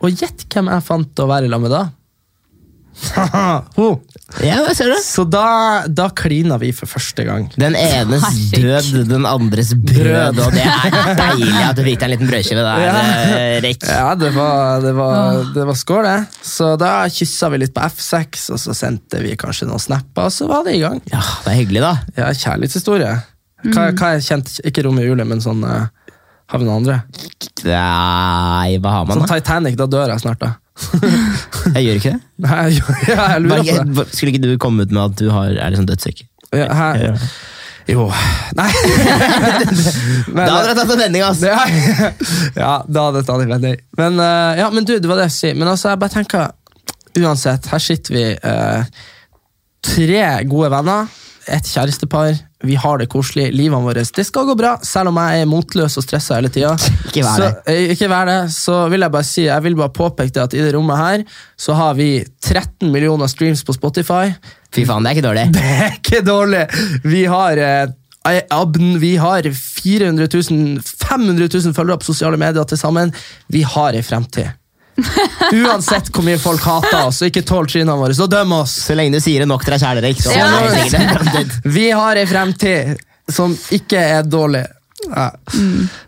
Speaker 1: Og gjett hvem jeg fant å være i lag med da? Ho.
Speaker 3: ja, hva ser du?
Speaker 1: Så da, da klina vi for første gang.
Speaker 3: Den enes
Speaker 2: Herregud.
Speaker 3: død, den andres brød, og det er deilig at du fikk deg en liten brødskive der, eh, Rik.
Speaker 1: Ja, det var, det var, det var skål, det. Så da kyssa vi litt på F6, og så sendte vi kanskje noen snapper, og så var det i gang.
Speaker 3: Ja, det er hyggelig, da.
Speaker 1: Ja, kjærlighetshistorie. Hva, hva er kjent, ikke rom i julet, men sånn eh, Har vi noen andre?
Speaker 3: Nei, hva har man,
Speaker 1: Sånn
Speaker 3: da?
Speaker 1: Titanic, da dør jeg snart, da.
Speaker 3: Jeg gjør ikke det. altså.
Speaker 1: Nei, jeg, jeg lurer på det.
Speaker 3: Bare- Skulle ikke du komme ut med at du har, er liksom dødssyk?
Speaker 1: Ja,
Speaker 3: Ja.
Speaker 1: her. Jo Nei! men,
Speaker 3: Da hadde jeg tatt en vending, ass!
Speaker 1: ja, ja, da hadde jeg tatt en vending. Men, eh, ja, men du, det var det jeg skulle si. Men altså, jeg bare tenker Uansett, her sitter vi eh, tre gode venner, et kjærestepar. Vi har det koselig. Livet vårt det skal gå bra, selv om jeg er motløs og stressa hele tida.
Speaker 3: Ikke vær det.
Speaker 1: Ikke vær det. Så vil jeg bare si, jeg vil bare påpeke det at i det rommet her så har vi 13 millioner streams på Spotify.
Speaker 3: Fy faen, det er ikke dårlig.
Speaker 1: Det er ikke dårlig. Vi har eh, ei- abn- vi har 400 000, 500 000 følgere på sosiale medier til sammen. Vi har ei fremtid. Uansett hvor mye folk hater oss og ikke tåler trynene våre, så døm oss! Sånn
Speaker 3: Så lenge du sier det nok til deg sjæl, Erik. Så
Speaker 2: Ja.
Speaker 3: er det sikkert.
Speaker 1: Vi har ei fremtid som ikke er dårlig. Ja.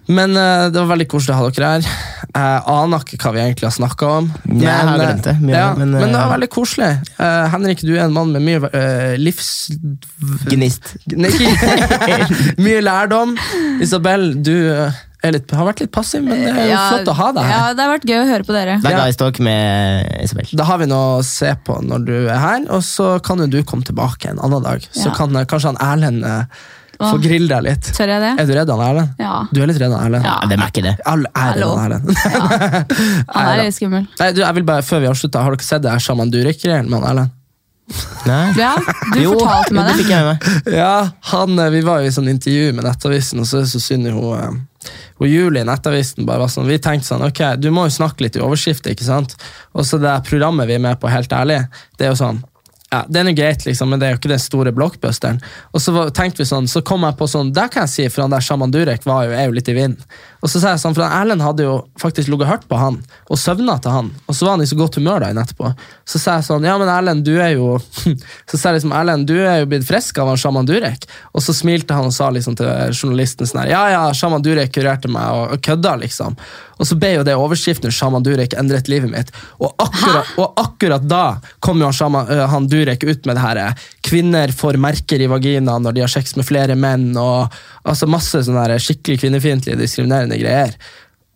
Speaker 1: Men eh, det var veldig koselig å ha dere her. Jeg aner ikke hva vi egentlig har snakka om.
Speaker 3: Jeg har glemt det mye,
Speaker 1: ja,
Speaker 3: men,
Speaker 1: men,
Speaker 3: eh,
Speaker 1: det var veldig koselig. Eh, Henrik, du er en mann med mye eh, livs...
Speaker 3: Gnist.
Speaker 1: Nei, ikke- mye lærdom. Isabel, du eh, er litt, har vært litt passiv, men det er jo flott å ha deg
Speaker 2: Ja,
Speaker 1: her.
Speaker 2: det har vært gøy å høre på dere.
Speaker 3: Det er
Speaker 1: Ja.
Speaker 3: Guys Talk med Isabel.
Speaker 1: Da har vi noe å se på når du er her, og så kan jo du komme tilbake en annen dag. Så
Speaker 2: Ja.
Speaker 1: kan eh, kanskje han Erlend eh, få
Speaker 2: Åh.
Speaker 1: grille deg litt.
Speaker 2: Tør jeg det?
Speaker 1: Er du redd han Erlend?
Speaker 2: Ja.
Speaker 1: Du er litt redd han Erlend?
Speaker 2: Ja.
Speaker 3: Ja, Hvem er ikke det?
Speaker 1: All ære
Speaker 2: Hallo.
Speaker 1: han Erlend.
Speaker 2: Han er litt skummel.
Speaker 1: Nei, du, jeg vil bare, før vi avslutter, har dere sett det her Shaman Durek-greien med han Erlend?
Speaker 3: Nei.
Speaker 2: Ja, du
Speaker 3: Jo,
Speaker 2: fortalte meg
Speaker 3: det
Speaker 2: det.
Speaker 3: fikk jeg med meg.
Speaker 1: Ja, han, eh, vi var jo i sånn intervju med Nettavisen, og så er det så synd i hun, eh, hun Julie i Nettavisen bare var sånn, vi tenkte sånn, ok, du må jo snakke litt i overskriftet, ikke sant? Og så det programmet vi er med på, helt ærlig, det er jo sånn, ja, det er noe greit liksom, men det er jo ikke den store blockbusteren. Og så var- tenkte vi sånn, så kom jeg på sånn, det kan jeg si, for han der Shaman Durek var jo, er jo litt i vind. Og så sa jeg sånn, for han Erlend hadde jo faktisk ligget hørt på han, og søvnet til han, og så var han i så godt humør da, etterpå. Så sa jeg sånn, ja, men Erlend, du er jo, så sa jeg liksom, Erlend, du er jo blitt frisk av han Shaman Durek. Og så smilte han og sa liksom til journalisten sånn her, ja, ja, Shaman Durek kurerte meg og, og kødda, liksom. Og så ble jo det overskriften Shaman Durek endret livet mitt. Og akkurat, og akkurat da kom jo han, Shaman, ø, han Durek ut med det her eh, kvinner får merker i vagina når de har sex med flere menn, og altså masse sånne her skikkelig kvinnefiendtlige diskriminerende greier.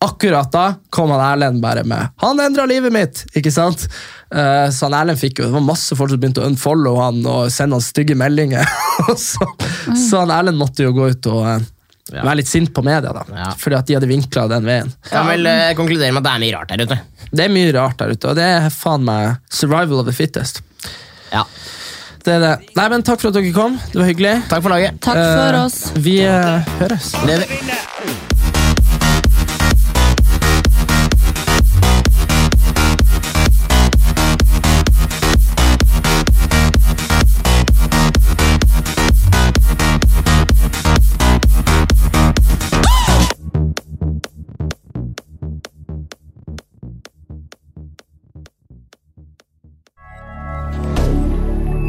Speaker 1: Akkurat da kom han Erlend bare med 'Han endra livet mitt!' ikke sant? Eh, så han Erlend fikk jo, det var masse folk som begynte å unfollow han og sende han stygge meldinger. Og så, så han Erlend måtte jo gå ut og eh, være litt sint på media, da,
Speaker 3: Ja.
Speaker 1: fordi at de hadde vinkla den veien.
Speaker 3: Kan vel eh, konkludere med at det er mye rart der ute.
Speaker 1: Det er mye rart der ute, og det er faen meg survival of the fittest.
Speaker 3: Ja.
Speaker 1: Det er det. Nei, men Takk for at dere kom. Det var hyggelig.
Speaker 3: Takk for laget.
Speaker 2: Takk for
Speaker 1: Eh,
Speaker 2: oss.
Speaker 1: Vi eh, høres.
Speaker 3: Det-